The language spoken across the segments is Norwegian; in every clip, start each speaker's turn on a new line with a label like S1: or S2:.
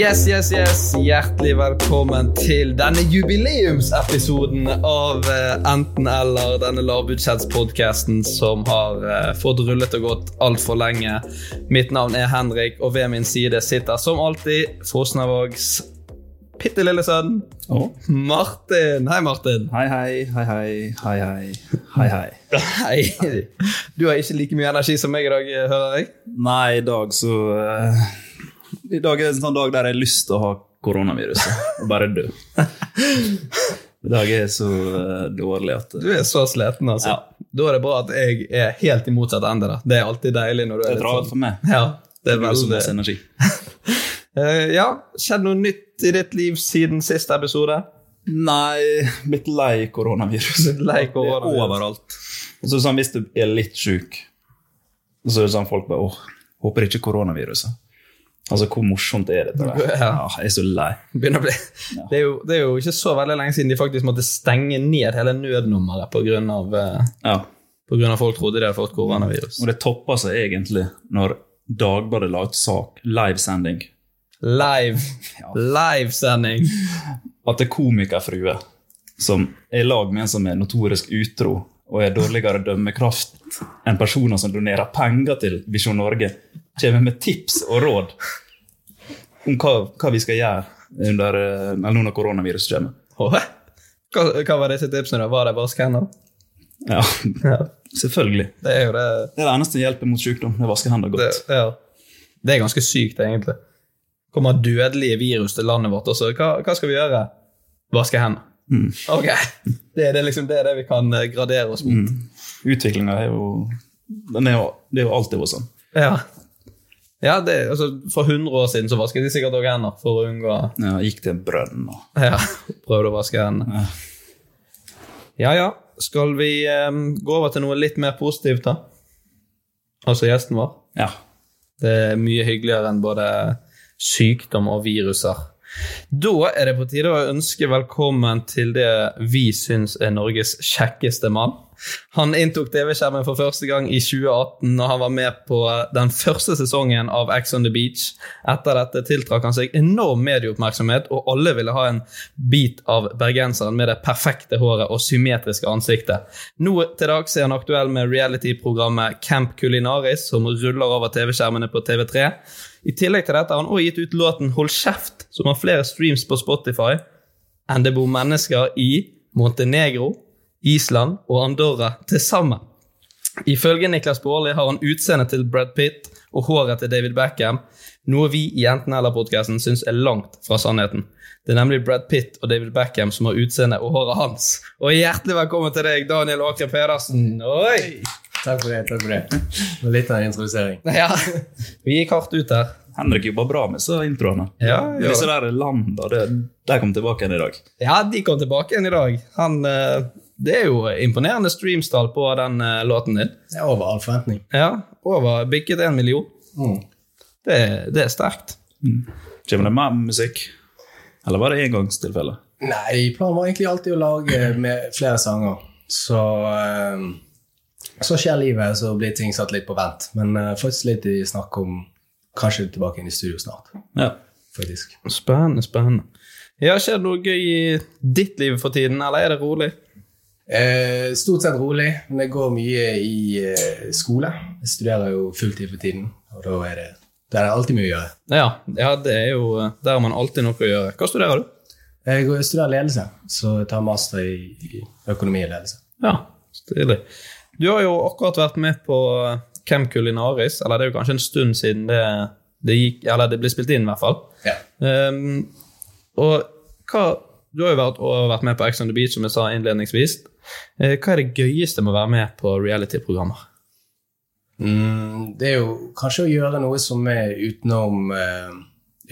S1: Yes, yes, yes. Hjertelig velkommen til denne jubileumsepisoden av eh, Enten eller, denne lavbudsjettspodkasten som har eh, fått rullet og gått altfor lenge. Mitt navn er Henrik, og ved min side sitter som alltid Fosnavågs bitte lille sønn Martin. Hei, Martin.
S2: Hei, hei, hei, hei, hei, hei, hei, hei.
S1: Hei. Du har ikke like mye energi som meg i dag, eh, hører jeg.
S2: Nei, i dag så eh, I dag er en sånn dag der jeg har lyst til å ha koronaviruset og bare dø. I dag er jeg så eh, dårlig at
S1: Du er så sliten, altså. Da er det bra at jeg er helt i motsatt ende. da. Det er alltid deilig når du er,
S2: Det er
S1: litt
S2: bra
S1: sånn.
S2: for meg.
S1: Ja, det er
S2: Du som
S1: veldig...
S2: masse energi.
S1: Eh, ja, skjedd noe nytt i ditt liv siden siste episode?
S2: Nei, blitt lei koronaviruset.
S1: Lei
S2: Det er
S1: koronavirus.
S2: overalt. Og så sånn, Hvis du er litt sjuk, så er det sånn folk bare åh, håper ikke koronaviruset. Altså, hvor morsomt er dette? der?
S1: Ja.
S2: Ja, jeg er så lei.
S1: Begynner å bli... Det, er jo, det er jo ikke så veldig lenge siden de faktisk måtte stenge ned hele nødnummeret pga.
S2: Ja.
S1: eh, av folk trodde de hadde fått koronavirus.
S2: Og det toppa seg egentlig når Dagbladet la ut sak, livesending,
S1: Live.
S2: Ja.
S1: Livesending.
S2: at det er komikerfrue som er i lag med en som er notorisk utro og er dårligere dømmekraft enn personer som donerer penger til Visjon Norge, kommer med tips og råd om hva, hva vi skal gjøre under, eh, eller nå når koronaviruset kommer.
S1: Åh, Hva, hva var disse tipsene? da? Var det bare skanner?
S2: Ja, selvfølgelig.
S1: Det er jo det,
S2: Det er det eneste som hjelper mot sykdom. Det er å vaske hender
S1: det,
S2: godt.
S1: ja. det er ganske sykt, egentlig. Kommer dødelige virus til landet vårt også. Hva, hva skal vi gjøre? Vaske hendene. Ok. Det er det, liksom, det er det vi kan eh, gradere oss mot.
S2: Utviklinga er jo den er jo, Det er jo alltid vært sånn.
S1: Ja. Ja, det, altså, For 100 år siden så vasket de sikkert også hender for å unngå
S2: Ja, gikk til en brønn og
S1: Ja, prøvde å vaske hendene. Ja ja. Skal vi eh, gå over til noe litt mer positivt, da? Altså gjesten vår.
S2: Ja.
S1: Det er mye hyggeligere enn både sykdom og viruser. Da er det på tide å ønske velkommen til det vi syns er Norges kjekkeste mann. Han inntok TV-skjermen for første gang i 2018 når han var med på eh, den første sesongen av X on the Beach. Etter dette tiltrakk han seg enorm medieoppmerksomhet, og alle ville ha en bit av bergenseren med det perfekte håret og symmetriske ansiktet. Nå til dags er han aktuell med reality-programmet Camp Culinaris, som ruller over TV-skjermene på TV3. I tillegg til dette har han også gitt ut låten Hold kjeft, som har flere streams på Spotify enn det bor mennesker i Montenegro, Island og Andorra til sammen. Ifølge Niklas Baarli har han utseendet til Brad Pitt og håret til David Beckham, noe vi i Enten eller-podkasten syns er langt fra sannheten. Det er nemlig Brad Pitt og David Beckham som har utseendet og håret hans. Og hjertelig velkommen til deg, Daniel Åkre Pedersen. Oi!
S3: Takk for det. takk for det. Det var Litt av en introdusering.
S1: Ja, vi gikk hardt ut der.
S2: Henrik jobber bra med disse introene.
S1: Ja,
S2: Men disse der landa, det, de kom tilbake igjen i dag.
S1: Ja, de kom tilbake igjen i dag. Han, eh, det er jo imponerende streamstall på den eh, låten din.
S3: Det er over all forventning.
S1: Ja, over bikket en million.
S3: Mm.
S1: Det, det er sterkt.
S2: Kommer det mer musikk? Eller var det engangstilfelle?
S3: Nei, planen var egentlig alltid å lage med flere sanger. Så eh, så skjer livet, så blir ting satt litt på vent. Men eh, faktisk litt i snakk om kanskje tilbake inn i studio snart,
S2: Ja.
S3: faktisk.
S1: Spennende, spennende. Ja, skjer det noe gøy i ditt liv for tiden, eller er det rolig?
S3: Eh, stort sett rolig, men jeg går mye i eh, skole. Jeg studerer jo fulltid for tiden, og da er det, da er det alltid mye å gjøre.
S1: Ja, ja det er jo eh, der har man alltid noe å gjøre. Hva studerer du?
S3: Eh, Jeg går- jeg studerer ledelse, så jeg tar master i, i økonomi og ledelse.
S1: Ja, stilig. Du har jo akkurat vært med på eh, Camp Culinaris, eller det er jo kanskje en stund siden det, det gikk, eller det ble spilt inn, i hvert fall.
S3: Ja.
S1: Ehm, og hva, du har jo vært, og vært med på Ex on the Beach, som jeg sa innledningsvis. Eh, hva er det gøyeste med å være med på reality-programmer?
S3: Mm, det er jo kanskje å gjøre noe som er utenom, eh,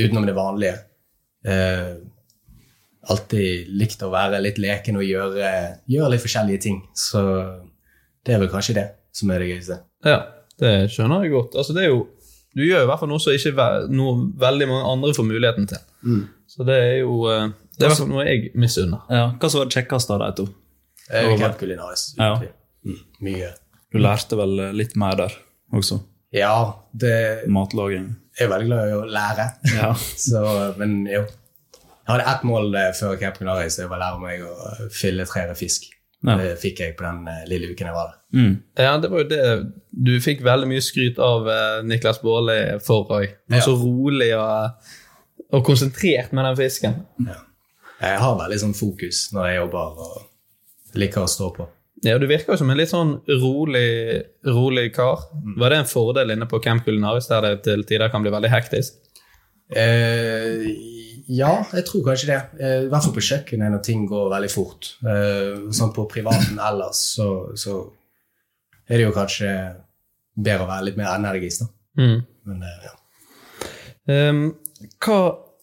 S3: utenom det vanlige. Eh, alltid likt å være litt leken og gjøre, gjøre litt forskjellige ting. Så det er vel kanskje det som er det gøyeste.
S1: Ja, det skjønner jeg godt. Altså, det er jo, du gjør jo i hvert fall noe som ikke ve noe veldig mange andre får muligheten til. Så det er jo eh, det er i hvert fall noe jeg misunner.
S2: ja. Hva som var det kjekkeste av de to?
S3: Eh,
S2: Og-
S3: Camp Culinaris.
S2: Ja.
S3: utrolig. Mm, mye.
S2: Du lærte vel eh, litt mer der også?
S3: Ja, det,
S2: Matlaging.
S3: jeg er veldig glad i å lære.
S2: Ja.
S3: Så, men jo. Jeg hadde ett mål eh, før Camp Culinaris, det var å lære meg å fylle tre med fisk.
S2: Ja.
S3: Det fikk jeg på den eh, lille uken jeg var der.
S2: Mm.
S1: Ja, det var jo det du fikk veldig mye skryt av eh, Niklas Baarli for òg. Han var
S3: Ja.
S1: så rolig og, eh, og konsentrert med den fisken.
S3: Jeg har veldig sånn fokus når jeg jobber og liker å stå på.
S1: Ja, Du virker jo som en litt sånn rolig, rolig kar. Var det en fordel inne på Camp Culinaris, der det til tider kan bli veldig hektisk?
S3: Eh, ja, jeg tror kanskje det. Eh, I hvert fall på kjøkkenet når ting går veldig fort. Eh, sånn på privaten ellers så, så er det jo kanskje bedre å være litt mer energisk, da.
S1: Mm.
S3: Men eh, ja.
S1: Ehm, hva,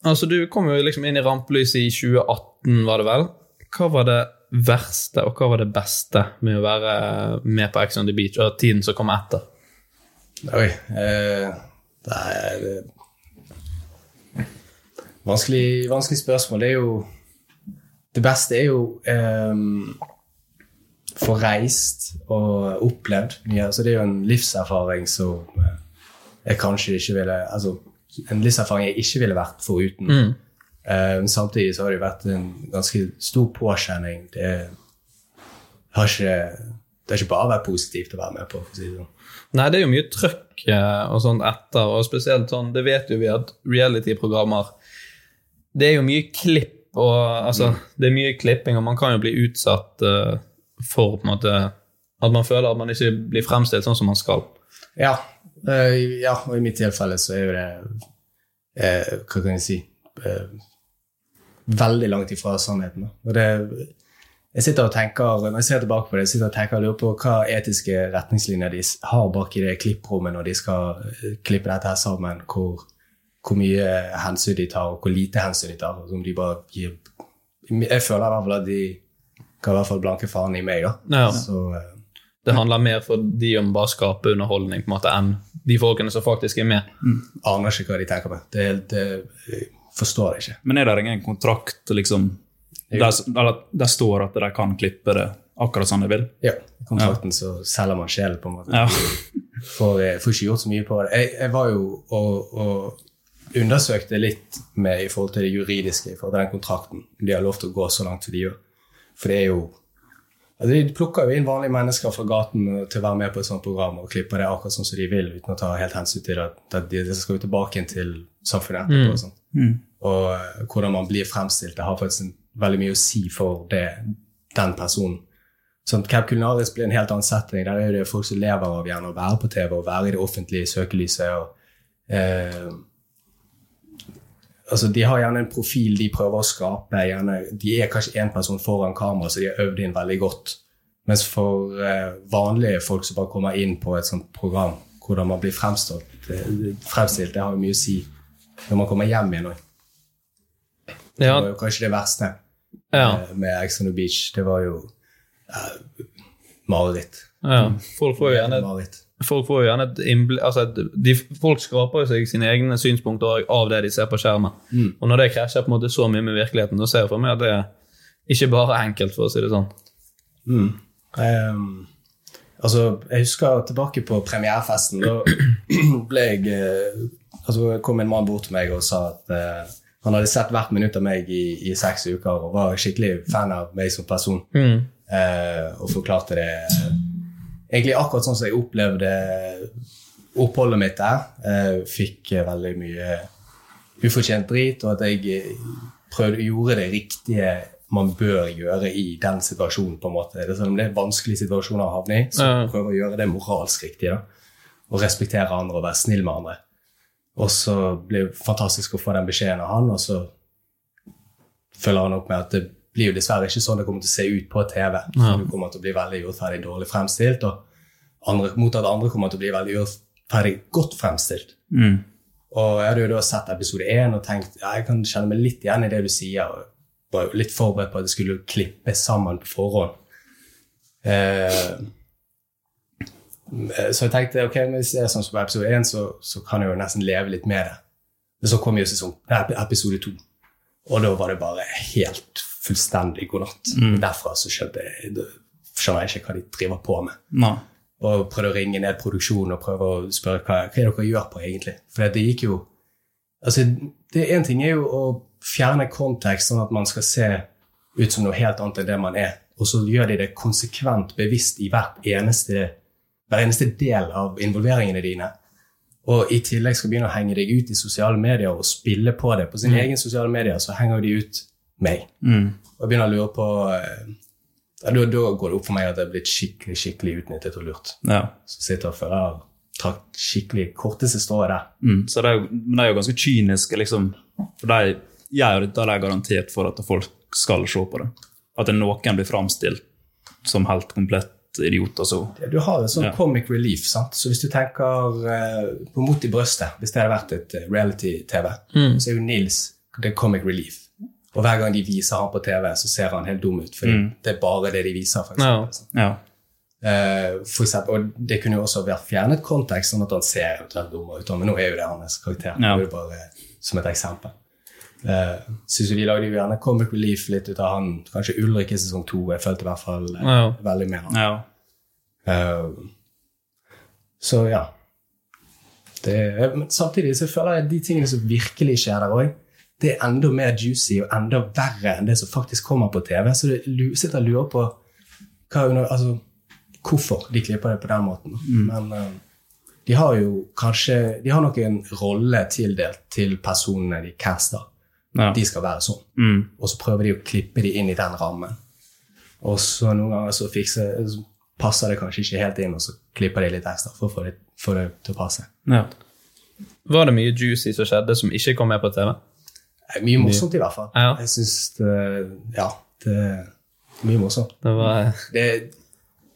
S1: altså du kom jo liksom inn i rampelyset i 2018, var det vel? Hva var det verste, og hva var det beste med å være med på Ex on the Beach, og tiden som kom etter?
S3: Oi. Eh, det er det... Vanskelig, vanskelig spørsmål. Det er jo Det beste er jo eh, få reist og opplevd mye. Altså, det er jo en livserfaring som eh, jeg kanskje ikke ville Altså en livserfaring jeg ikke ville vært foruten. Eh, men samtidig så har det jo vært en ganske stor påkjenning. Det har ikke det har ikke bare vært positivt å være med på. for å si det sånn.
S1: Nei, det er jo mye trøkk eh, og sånt etter, og spesielt sånn, det vet jo vi at reality-programmer Det er jo mye klipp og Altså,
S2: Mm.
S1: det er mye klipping, og man kan jo bli utsatt eh, for på en måte At man føler at man ikke blir fremstilt sånn som man skal.
S3: Ja, eh, ja, og i mitt tilfelle så er jo det eh, Hva kan jeg si eh, Veldig langt ifra sannheten. da. Og det, jeg sitter og tenker, Når jeg ser tilbake på det, jeg sitter og tenker og lurer på hva etiske retningslinjer de s- har bak i det klipprommet når de skal eh, klippe dette her sammen. hvor hvor mye hensyn de tar, og hvor lite hensyn de tar. og Som de bare gir Jeg føler i hvert fall at de ga i hvert fall blanke faen i meg, da.
S1: Ja.
S3: Så, eh,
S1: Det handler mer for de om bare å skape underholdning på en måte, enn de folkene som faktisk er med.
S3: aner ikke hva de tenker på. Det, er helt, eh, jeg forstår det ikke.
S2: Men er det ingen kontrakt liksom, der, s- eller, der står at de kan klippe det akkurat som de vil?
S3: Ja, I kontrakten så selger man sjelen, på en måte.
S2: Ja.
S3: For jeg får ikke gjort så mye på det. Jeg, jeg var jo og, og undersøkte litt med i forhold til det juridiske, i forhold til den kontrakten. De har lov til å gå så langt som de gjør. For det er jo altså De plukker jo inn vanlige mennesker fra gaten til å være med på et sånt program og klipper det akkurat sånn som de vil, uten å ta helt hensyn til at, at de, det skal jo tilbake igjen til samfunnet etterpå. og sånt. Og eh, hvordan man blir fremstilt, det har faktisk en, veldig mye å si for det, den personen. Sånn, Camp Culinaris blir en helt annen setting. Der er det folk som lever av gjerne å være på TV og være i det offentlige søkelyset. og eh, altså De har gjerne en profil de prøver å skape. Gjerne, de er kanskje én person foran kamera, så de har øvd inn veldig godt. Mens for eh, vanlige folk som bare kommer inn på et sånt program, hvordan man blir fremstått, det- fremstilt, det har jo mye å si når man kommer hjem igjen òg. Det var
S1: Ja,
S3: jo kanskje det verste
S1: ja,
S3: eh, med Ex on the Beach. Det var jo eh, mareritt.
S1: ja. Folk får jo gjerne
S3: Mareritt.
S1: folk får jo gjerne et innbl- altså et, de, Folk skraper jo seg sine egne synspunkter av det de ser på skjermen. Og når det krasjer på en måte så mye med virkeligheten, da ser jeg for meg at det er ikke bare er enkelt, for å si det sånn.
S3: Ehm, altså, jeg husker tilbake på premierefesten. Da ble jeg eh, altså, kom en mann bort til meg og sa at eh, han hadde sett hvert minutt av meg i, i seks uker og var skikkelig fan av meg som person. Eh, og forklarte det eh, egentlig akkurat sånn som jeg opplevde oppholdet mitt der. Eh, fikk eh, veldig mye ufortjent drit, og at jeg eh, prøvde, gjorde det riktige man bør gjøre i den situasjonen. på en måte. Det er selv om det er vanskelige situasjoner å havne i, så
S1: Ja.
S3: prøver å gjøre det moralsk riktig. da. Og respektere andre og være snill med andre. Og så ble det fantastisk å få den beskjeden av han, og så følger han opp med at det blir jo dessverre ikke sånn det kommer til å se ut på TV. Så Du kommer til å bli veldig urettferdig dårlig fremstilt, og andre, mot at andre kommer til å bli veldig urettferdig godt fremstilt. Og jeg hadde jo da sett episode én og tenkt ja, jeg kan kjenne meg litt igjen i det du sier. og var jo litt forberedt på at det skulle klippe sammen på forhånd. Eh, så jeg tenkte ok, men hvis det er sånn som på episode én, så, så kan jeg jo nesten leve litt med det. Men så kom jo sesong, nei, episode to. Og da var det bare helt fullstendig god natt. Derfra så skjønte jeg, da skjønner jeg ikke hva de driver på med.
S2: Nei.
S3: Og prøvde å ringe ned produksjonen og prøvde å spørre hva, hva er det dere gjør på egentlig. For det gikk jo Altså, det en ting er jo å fjerne kontekst, sånn at man skal se ut som noe helt annet enn det man er. Og så gjør de det konsekvent bevisst i hvert eneste, hver eneste del av involveringene dine og i tillegg skal begynne å henge deg ut i sosiale medier og spille på det. På sine egne sosiale medier så henger de ut meg. Og jeg begynner å lure på eh, ja, da, da går det opp for meg at jeg er blitt skikkelig skikkelig utnyttet og lurt.
S2: Ja.
S3: Så sitter jeg og føler jeg har trakt skikkelig korteste strået der.
S2: Mm. Så det er, jo- men de er jo ganske kyniske, liksom. For de gjør jo dette de er garantert for at folk skal se på det. At det noen blir framstilt som helt komplett idioter. Så.
S3: Du har en sånn
S2: Ja.
S3: comic relief, sant? så hvis du tenker eh, på Mot i brøstet, hvis det hadde vært et eh, reality-TV, så er jo Nils det er comic relief. Og hver gang de viser han på TV, så ser han helt dum ut, for det er bare det de viser. for eksempel,
S1: Ja.
S3: sant?
S2: Ja.
S3: Eh, for eksempel, og det kunne jo også vært fjernet kontekst, sånn at han ser eventuelt dummere ut. Men nå er jo det hans karakter.
S2: Ja.
S3: Det er jo bare som et eksempel. Uh, synes jo de lagde jo gjerne Comic Relief litt ut av han, kanskje Ulrik i sesong to. Jeg følte i hvert fall eh,
S1: Ja.
S3: veldig med han.
S2: ja.
S3: Eh, så ja. Det, er- men samtidig så føler jeg at de tingene som virkelig skjer der òg, det er enda mer juicy og enda verre enn det som faktisk kommer på TV. Så du lu- sitter og lurer på hva, er under- altså, hvorfor de klipper det på den måten.
S2: Mm.
S3: Men eh, de har jo kanskje De har nok en rolle tildelt til personene de caster.
S2: Ja.
S3: De skal være sånn.
S2: Mm.
S3: Og så prøver de å klippe de inn i den rammen. Og så noen ganger så fikser, så passer det kanskje ikke helt inn, og så klipper de litt ekstra for å få det, få det til å passe.
S2: Ja.
S1: Var det mye juicy som skjedde som ikke kom med på TV?
S3: Det er Mye morsomt, i hvert fall.
S1: Ja.
S3: Jeg syns det- Ja. Det er mye morsomt.
S1: Det var,
S3: Det,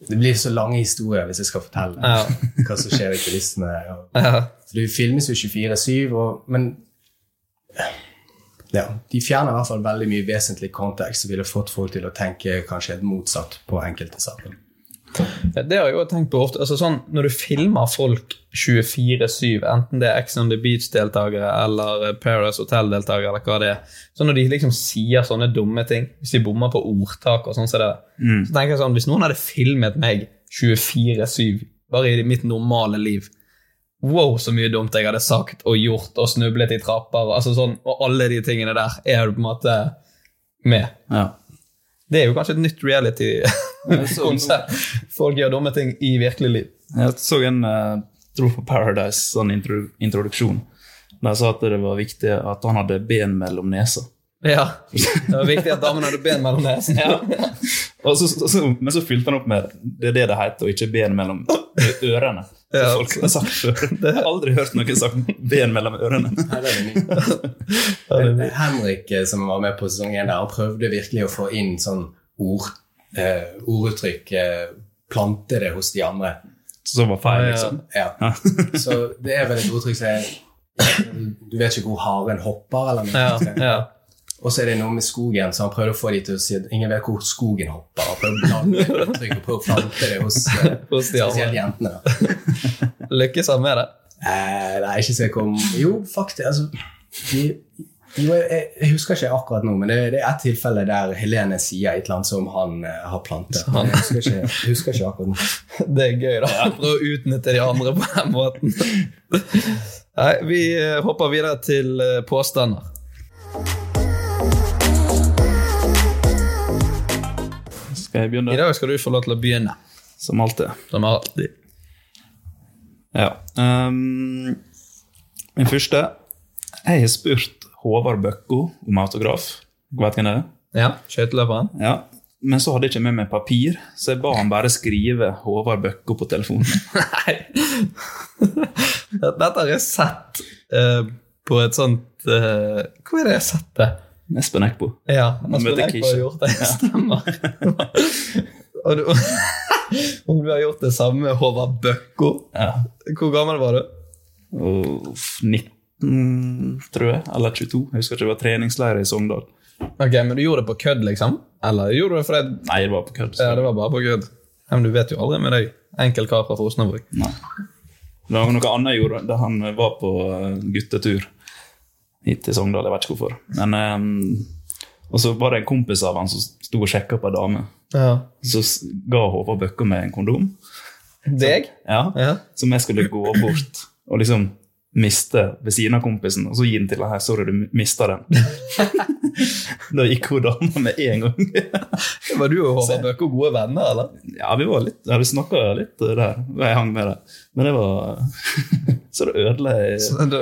S3: det blir så lange historier hvis jeg skal fortelle
S1: Ja.
S3: hva som skjer i kulissene. og-
S1: ja.
S3: For det filmes jo 24-7, og- men ja, de fjerner i hvert fall veldig mye vesentlig kontekst som ville fått folk til å tenke kanskje helt motsatt på enkelte saker.
S1: Det har jeg jo tenkt på ofte. altså sånn, Når du filmer folk 24-7, enten det er Ex on the Beach-deltakere eller eh, Paradise Hotel-deltakere, eller hva det er Så når de liksom sier sånne dumme ting, hvis de bommer på ordtak og sånn, så, det, så tenker jeg sånn Hvis noen hadde filmet meg 24-7, bare i mitt normale liv Wow, så mye dumt jeg hadde sagt og gjort og snublet i trapper og, altså sånn, og alle de tingene der er jo på en måte med.
S2: ja.
S1: Det er jo kanskje et nytt reality-konsept. Folk gjør dumme ting i virkelig liv.
S2: Jeg så en eh, dro på Paradise, sånn intro, introduksjon. Der sa at det var viktig at han hadde ben mellom nesa.
S1: Ja, Det var viktig at damen hadde ben mellom nesen.
S2: Og så, så, så, men så fylte han opp med det er det det heter, og ikke ben mellom ørene. som
S1: Ja.
S2: folk har sagt før. Jeg har aldri hørt noen sagt ben mellom ørene.
S3: Nei, det er det nye. Men Henrik eh, som var med på sesong 1 der, han prøvde virkelig å få inn sånn ord, eh, orduttrykk, eh, plante det hos de andre.
S2: Som var feil, liksom.
S3: Ja. Så det er vel et ordtrykk som er Du vet ikke hvor haren hopper, eller noe
S1: Ja,
S3: sånt.
S1: ja.
S3: Og så er det noe med skogen, så han prøvde å få de til å si at ingen vet hvor skogen hopper. Han prøvde å blande et uttrykk og prøve å plante det hos, eh,
S1: Hos de andre.
S3: spesielt jentene. da.
S1: Lykkes han med det?
S3: Eh, nei, ikke så jeg kom Jo, faktisk. Altså, de, jo, jeg, jeg husker ikke akkurat nå, men det, det er et tilfelle der Helene sier et eller annet som han eh, har plantet. Men Jeg husker ikke, jeg husker ikke akkurat nå.
S1: Det er gøy, da. Prøve å utnytte de andre på den måten. Nei, vi eh, hopper videre til eh, påstander.
S2: Skal jeg
S1: I
S2: begynne?
S1: dag skal du få lov til å begynne,
S2: Som alltid.
S1: som alltid.
S2: Ja. ehm, min første Jeg har spurt Håvard Bøkko om autograf. Dere Vet hvem det er?
S1: Ja, skøyteløperen.
S2: Ja. Men så hadde jeg ikke med meg papir, så jeg ba han bare skrive Håvard Bøkko på telefonen.
S1: Nei. Dette har jeg sett eh, på et sånt eh, Hvor er det jeg har sett det?
S2: Espen Eckbo.
S1: Ja,
S2: Nå
S1: Espen
S2: møter
S1: Eckbo har
S2: Keisha.
S1: gjort det. Stemmer. Og du, om du har gjort det samme med Håvard Bøkko
S2: Ja.
S1: Hvor gammel var du?
S2: Og 19, tror jeg. Eller 22. Jeg husker ikke, det var treningsleir i Sogndal.
S1: Ok, Men du gjorde det på kødd, liksom? Eller gjorde du det fordi
S2: Nei, det var på kødd.
S1: Ja, det var bare på kødd. Ja, Men du vet jo aldri med deg. Enkel kar fra Fosnavåg.
S2: Nei. Det var noe annet jeg gjorde da han var på eh, guttetur hit til Sogndal. Jeg vet ikke hvorfor. Men, eh, og så var det en kompis av han som sto og sjekka på ei dame.
S1: Ja.
S2: Så s- ga Håvard Bøkka meg en kondom
S1: Deg?
S2: ja,
S1: Ja.
S2: som jeg skulle gå bort og liksom miste ved siden av kompisen. Og så gi den til henne. 'Sorry, du mista den'. da gikk hun dama med en gang.
S1: Var du og Håvard Bøkko gode venner, eller?
S2: Ja, vi var litt, ja, vi snakka litt eh, der. og Jeg hang med det. Men det var Så det ødela jeg
S1: Så Da,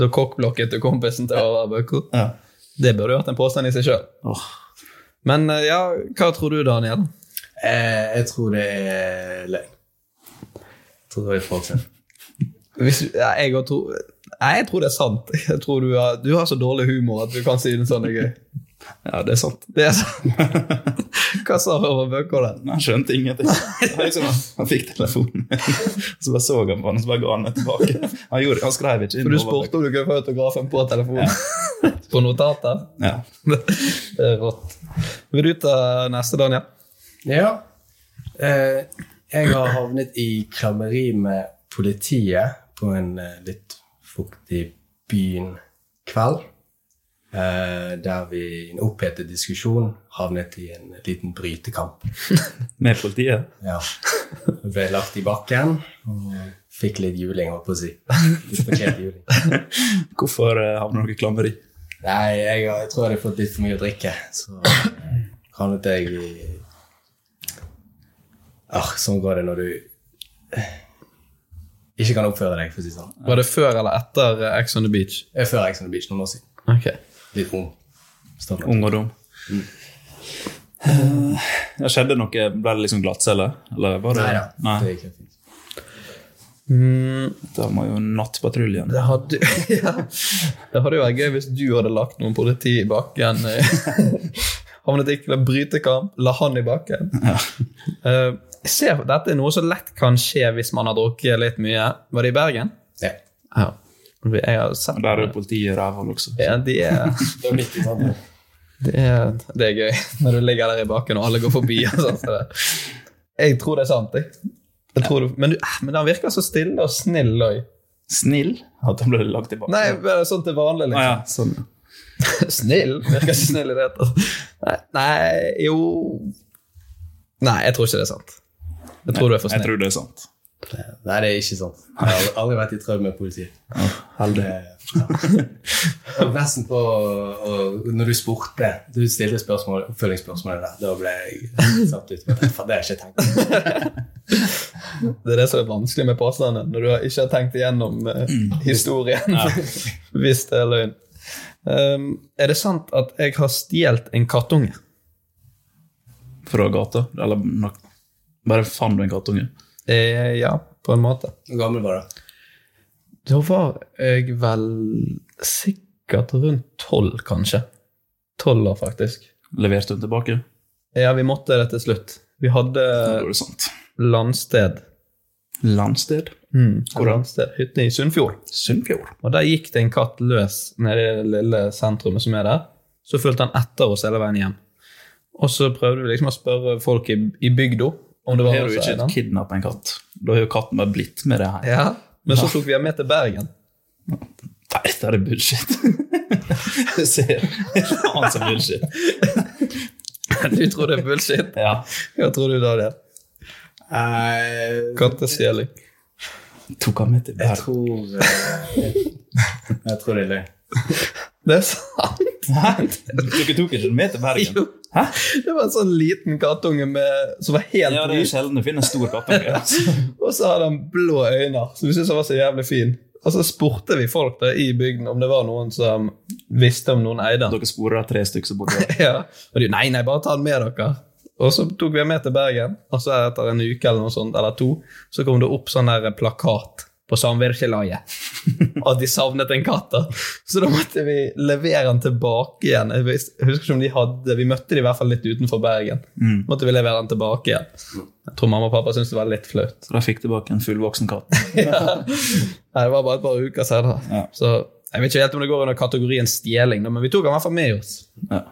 S1: da kokkblokket du kompisen til Håvard Bøkko.
S2: ja.
S1: Det burde jo vært en påstand i seg sjøl.
S2: Åh.
S1: Men eh, ja, hva tror du, Daniel?
S3: Eh, jeg tror det er løgn. Jeg tror det var et forkjøp.
S1: Hvis, ja, jeg, også tror, nei, jeg tror det er sant. Jeg tror du har, du har så dårlig humor at du kan si det sånn er gøy.
S2: Ja, det er sant.
S1: Det er sant. Hva sa Håvard Bøkko der?
S2: Men han skjønte ingenting. Han, liksom, han fikk telefonen, så bare så han på den, så bare ga han den tilbake. Han, gjorde, han skrev ikke inn.
S1: For du
S2: over-
S1: spurte om du kunne få autografen på telefonen. på notater.
S2: Ja.
S1: Det er rått. Vil du ta neste, Daniel?
S3: Ja. Eh, jeg har havnet i klammeri med politiet på en eh, litt fuktig byen kveld. Eh, der vi i en opphetet diskusjon havnet i en liten brytekamp.
S2: Med politiet.
S3: Ja. Jeg ble lagt i bakken og fikk litt juling, holdt på å si. Litt fortjent juling.
S2: Hvorfor eh, havner dere i klammeri?
S3: Nei, jeg, har- jeg tror jeg hadde fått litt for mye å drikke. Så havnet jeg i Ah, Sånn går det når du eh, ikke kan oppføre deg, for å si det sånn.
S1: Var det før eller etter eh, Ex on the Beach?
S3: Jeg er før Ex on the Beach noen år siden.
S1: Ok.
S3: Litt ung. Stopp.
S2: Ung og dum. Eh, ja, skjedde noe? Ble det liksom glattcelle? Eller var det
S3: Nei da.
S2: Nei.
S3: Det gikk helt fint.
S1: Mm.
S2: Da må jo nattpatruljen
S1: Det hadde, ja. det hadde jo vært gøy hvis du hadde lagt noen politi i bakken. Havnet ikke til å bryte kamp, la han i bakken. Eh, jeg ser, dette er noe som lett kan skje hvis man har drukket litt mye. Var det i Bergen?
S3: Ja.
S1: Ja. Jeg har sett
S2: Og Der er jo politiet rævhold også.
S1: ja, de er,
S3: Det var midt i sånn.
S1: det, er, det er gøy når du ligger der i bakken og alle går forbi. Og sånt, så det. Jeg tror det er sant. Jeg. Jeg tror du, men, du, eh, men han virker så stille og snill. Og,
S2: Snill at han ble lagt tilbake.
S1: nei, bare sånn til vanlig.
S2: ah,
S1: Liksom.
S2: ja, sånn.
S1: Snill? Virker ikke snill i det hele tatt. Nei, nei, jo Nei, jeg tror ikke det er sant. Jeg tror du er for
S2: Jeg
S1: snill.
S2: tror det er sant.
S3: Nei, det er ikke sånn. Jeg har aldri- aldri vært i trøbbel med politiet. Heldig. Og nesten på og Når du spurte, du stilte spørsmål, oppfølgingsspørsmålet der, da ble jeg satt ut. med det, For det har jeg ikke tenkt på.
S1: Det er det som er vanskelig med påstanden, når du har- ikke har tenkt igjennom eh, historien. Hvis det er løgn. Ehm, Um, er det sant at jeg har stjålet en kattunge?
S2: fra gata? Eller nok, bare fant du en kattunge?
S1: Eh, ja, på en måte.
S3: Hvor gammel var du?
S1: Da var jeg vel sikkert rundt tolv, kanskje. Tolv år, faktisk.
S2: Leverte hun tilbake?
S1: Ja, vi måtte det til slutt. Vi hadde
S2: Da var det sant.
S1: landsted.
S2: Landsted?
S1: Hvor landsted? Hytte i Sunnfjord.
S2: Sunnfjord.
S1: Og der gikk det en katt løs nede i det lille sentrumet som er der. Så fulgte han etter oss hele veien hjem. Og så prøvde vi liksom å spørre folk i, i bygda om det var
S2: Har
S1: han
S2: du
S1: som eide
S2: ikke
S1: den.
S2: kidnappet en katt? Da har jo katten bare blitt med det her.
S1: Ja. Men så tok vi ham med til Bergen.
S2: Nei, dette er bullshit. Jeg ser faen som bullshit.
S1: Du tror det er bullshit?
S2: Ja.
S1: Hva tror du da det er?
S3: Eh,
S1: Kattestjeling.
S2: Tok han med til
S3: jeg
S2: Bergen?
S3: tror eh, jeg, jeg tror det er løgn.
S1: Det er sant!
S2: Dere tok ikke med til Bergen?
S1: Jo. Det var en sånn liten kattunge med, som var helt
S2: Ja, det er
S1: ny,
S2: sjelden du finner en stor kattunge.
S1: og så hadde han blå øyne, som vi syntes han var så jævlig fin. Og så spurte vi folk da i bygden om det var noen som visste om noen eide den.
S2: Dere sporer av tre stykker som bor der.
S1: Ja. Og de nei, nei, bare ta den med dere. Og så tok vi den med til Bergen, og så etter en uke eller noe sånt, eller to, så kom det opp sånn der plakat på samvirkelaget. At de savnet en katt. da. Så da måtte vi levere den tilbake igjen. Jeg vis- jeg husker ikke om de hadde, Vi møtte de i hvert fall litt utenfor Bergen. Måtte vi levere den tilbake igjen. Jeg tror mamma og pappa syntes det var litt flaut.
S2: Så da fikk tilbake en fullvoksen katt.
S1: Nei, Det var bare et par uker senere.
S2: Ja.
S1: Så jeg vet ikke helt om det går under kategorien stjeling, da, men vi tok den i hvert fall med oss.
S2: Ja.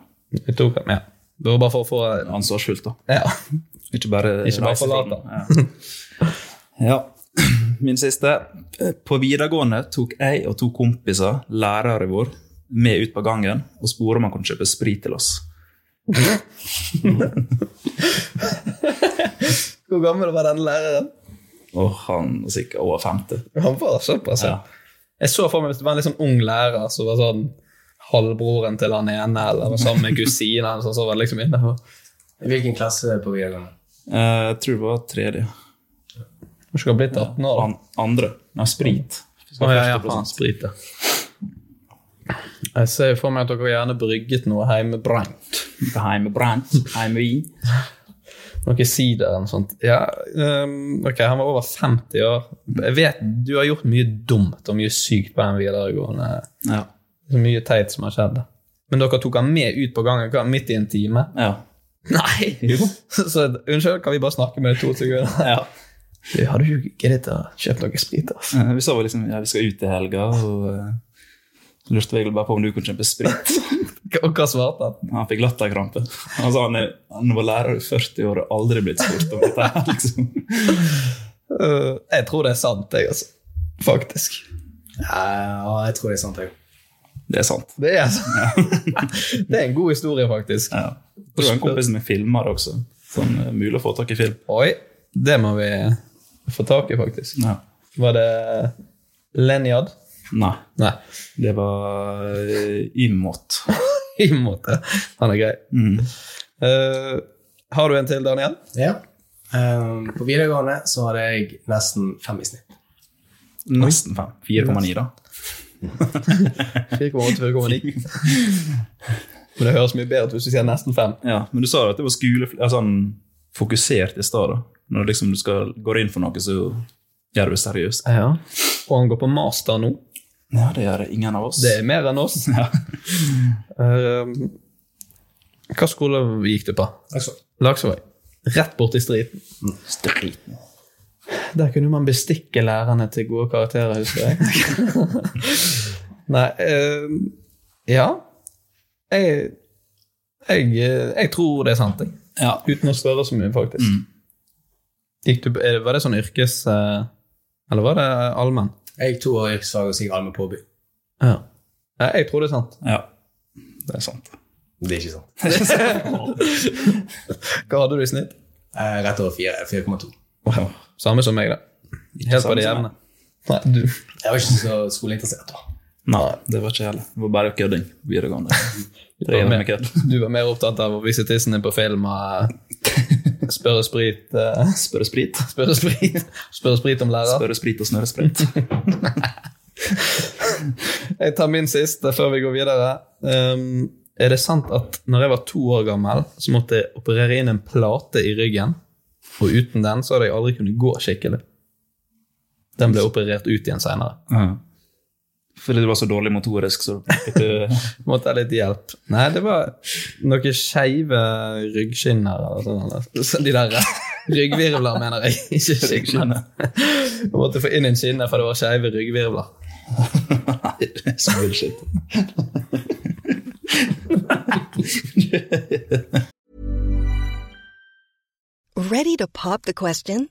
S1: Vi tok den, ja. Det var bare for å få
S2: Ansvarsfullt, da.
S1: ja.
S2: Ikke bare, reise
S1: Ikke bare
S2: fra
S1: forlate.
S2: den. Ja. ja. Min siste. På videregående tok jeg og to kompiser, lærere vår, med ut på gangen og spurte om han kunne kjøpe sprit til oss.
S1: Hvor gammel var den læreren?
S2: Og han var sikkert over 50.
S1: Han var såpass, ja. Jeg så for meg hvis det var en litt sånn ung lærer som var sånn halvbroren til han ene, eller var sammen med kusina hans, og så var det liksom inne og
S3: Hvilken klasse på videregående?
S2: Eh, Jeg tror det var tredje.
S1: Hun skulle ha blitt 18 år. da.
S2: An andre. Nei, sprit.
S1: Å ja, ja, faen, sprit, ja. Jeg ser jo for meg at dere gjerne brygget noe hjemmebrent.
S2: Heimebrent, heimevin.
S1: Noe sider eller noe sånt. Ja, ehm, ok, han var over 50 år. Jeg vet du har gjort mye dumt og mye sykt på den videregående.
S2: Ja.
S1: Så mye teit som har skjedd. Men dere tok han med ut på gangen hva, midt i en time?
S2: ja.
S1: Nei! Så unnskyld, kan vi bare snakke med deg to sekunder?
S2: ja.
S1: Du, har du ikke giddet å kjøpe noe sprit, altså?
S2: Eh, Vi sa vel liksom ja, vi skal ut i helga, og eh, lurte vi egentlig bare på om du kunne kjøpe sprit.
S1: Og hva svarte han?
S2: Han fikk latterkrampe. Altså, han, er, han var lærer i 40 år og har aldri blitt spurt om dette. her, liksom.
S1: Øh, jeg tror det er sant, jeg, altså. Faktisk.
S3: Ja, jeg tror det er sant. Jeg.
S2: Det er sant.
S1: Det er, altså- det er en god historie, faktisk.
S2: Ja. Det var en kompis som er filmer også. Sånn eh, mulig å få tak i film.
S1: Oi, det må vi få tak i, faktisk.
S2: Ja.
S1: Var det Lenjad?
S2: Nei,
S1: Nei,
S2: det var eh, Imot.
S1: i en måte. Han er grei.
S2: Mm.
S1: Øh, har du en til, Daniel?
S3: Ja. Ehm, på videregående så hadde jeg nesten fem i snitt.
S2: Nesten fem. 4,9, da.
S1: 4,8, 4,9. Men det høres mye bedre ut hvis du sier nesten fem.
S2: Ja, Men du sa jo at det var skole, altså, han fokusert i stad. da. Når liksom du skal går inn for noe, så gjør du det seriøst.
S1: Ja. Og han går på master nå.
S2: Ja, det gjør ingen av oss.
S1: Det er mer enn oss.
S2: Ja.
S1: Eh, hva skole gikk du på? Laksevåg. Rett borti striden.
S2: Striten.
S1: Der kunne man bestikke lærerne til gode karakterer, husker jeg. Nei eh, Ja. Jeg, jeg, jeg tror det er sant, jeg.
S2: Ja. Mm.
S1: Uten å spørre så mye, faktisk. Gikk du, er det- var det sånn yrkes... eh, Eller var det allmenn?
S3: Jeg gikk to år i yrkesfag hos Sigvald med påby.
S1: Ja. Nei, Jeg tror det er sant.
S2: ja. Det er sant.
S3: Det er ikke sant.
S1: Hva hadde du i snitt?
S3: Eh, rett over fire. 4,2.
S1: Wow. Samme som meg, da. Helt på det
S2: samme
S1: jevne. Nei, du.
S3: Jeg var ikke så skoleinteressert da.
S2: Nei, det var ikke heller. Det var bare kødding på videregående.
S1: Du var,
S2: er meg
S1: mer,
S2: ikke.
S1: du var mer opptatt av å vise tissen din på film og eh, spørre sprit eh,
S2: Spørre sprit.
S1: Spørre sprit, spørre sprit om lærer.
S2: Spørre sprit og snøre sprit.
S1: Jeg tar min siste før vi går videre. Um, Er det sant at når jeg var to år gammel, så måtte jeg operere inn en plate i ryggen? Og uten den så hadde jeg aldri kunnet gå skikkelig. Den ble operert ut igjen seinere.
S2: Ja. Fordi du var så dårlig motorisk, så du
S1: Måtte ha litt hjelp. Nei, det var noen skeive ryggskinner eller sånn. eller så De der ryggvirvler, mener jeg. Ikke ryggskinner. Jeg måtte få inn en skinne, for det var skeive ryggvirvler.
S2: Nei, det er så bullshit.
S4: Ready to pop the question?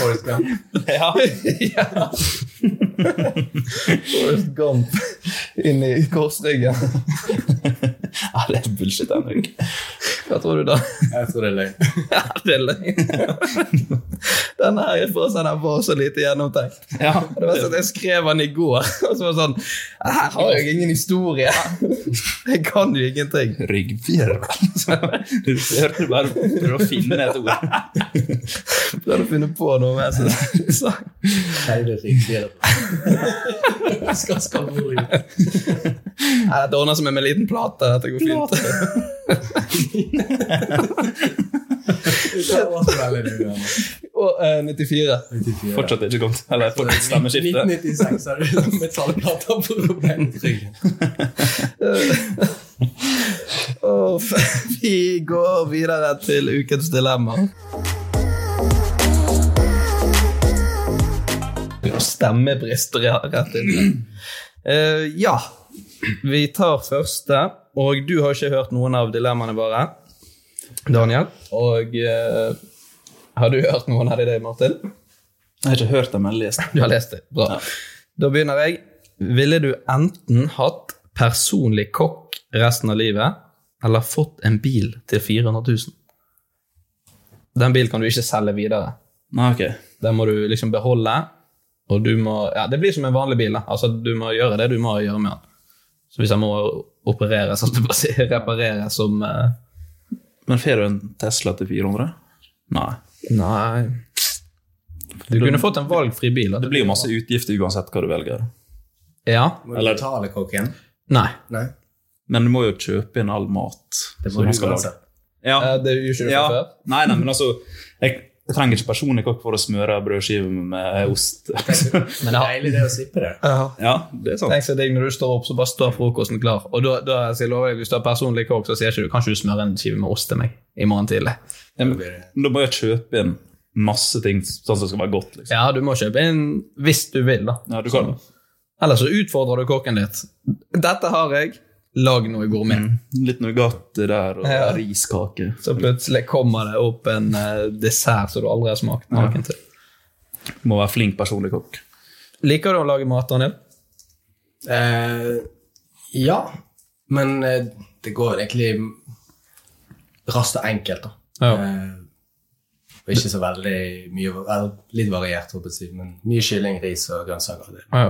S3: Forrest Gump.
S1: Ja. ja. Forrest Gump inn i korsryggen.
S2: Ja, det er bullshit, Henrik.
S1: Hva tror du, da?
S3: Jeg tror det er løgn.
S1: Ja, det er løgn. Den her er for sånn, den var så lite gjennomtenkt.
S2: Ja.
S1: Det var sånn, at Jeg skrev den i går, og så var det sånn Her har jeg ingen historie! Jeg kan jo ingenting.
S2: Ryggvirvel. Du hører du bare prøver å finne et ord.
S1: Prøvde å finne på noe med seg. Så-
S3: Hele ryggen. Skal skal mor ut.
S1: Nei, Dette ordner seg med en liten plate. Dette går fint.
S3: Du kan også velge det du gjør nå.
S1: Og eh, 94.
S3: 94.
S2: Fortsatt ikke kommet. Eller fortsatt stemmeskifte.
S3: 1996 har du metallplater på ryggen.
S1: Og f- vi går videre til ukens dilemma. Stemmebrist re- rett inn. Eh, ja, vi tar første. Og du har ikke hørt noen av dilemmaene våre, Daniel. Og eh, har du hørt noen av de, Martin?
S2: Jeg har ikke hørt det, men lest
S1: Du har lest det. Bra. Da begynner jeg. Ville du enten hatt personlig kokk resten av livet, eller fått en bil til 400 000? Den bilen kan du ikke selge videre.
S2: Nei, ok.
S1: Den må du liksom beholde, og du må Ja, det blir som en vanlig bil. da. Altså, du må gjøre det du må gjøre med den. Så hvis den må opereres, altså repareres som eh,
S2: Men får du en Tesla til 400? Nei.
S1: Nei. Du kunne fått en valgfri bil.
S2: Det blir jo masse utgifter uansett hva du velger.
S1: Ja.
S3: Må du betale kokken?
S1: Nei.
S3: Nei.
S2: Men du må jo kjøpe inn all mat.
S3: Det
S2: som
S3: må
S2: man
S3: du
S2: skal lage.
S3: uansett.
S2: Ja.
S1: Eh, Det er jo ikke
S2: Ja.
S1: sjåfør.
S2: Nei, nei, men altså Jeg, jeg trenger ikke personlig kokk for å smøre brødskive med ost.
S1: Men det har-
S3: Deilig det å slippe det.
S2: ja, det er sant.
S1: Tenk så digg når du står opp, så bare står frokosten klar. Og da, da sier jeg lover deg, hvis du har personlig kokk, så sier ikke du kan ikke du smøre en skive med ost til meg i morgen tidlig.
S2: Ja, men, da må jeg kjøpe inn masse ting sånn som skal være godt. liksom.
S1: Ja, du må kjøpe inn hvis du vil, da.
S2: Ja, du kan.
S1: Eller så utfordrer du kokken litt. Dette har jeg, lag noe gourmet.
S2: Litt Nugatti der og
S1: Ja.
S2: riskake.
S1: Så plutselig kommer det opp en eh, dessert som du aldri har smakt maken til.
S2: Må være flink personlig kokk.
S1: Liker du å lage mat, Daniel?
S3: Eh, ja, men eh, det går egentlig raskt og enkelt, da.
S1: Ja.
S3: Eh, og ikke så veldig mye eller, Litt variert, håper jeg, å si, men mye kylling, ris og grønnsaker. Det,
S1: Ja,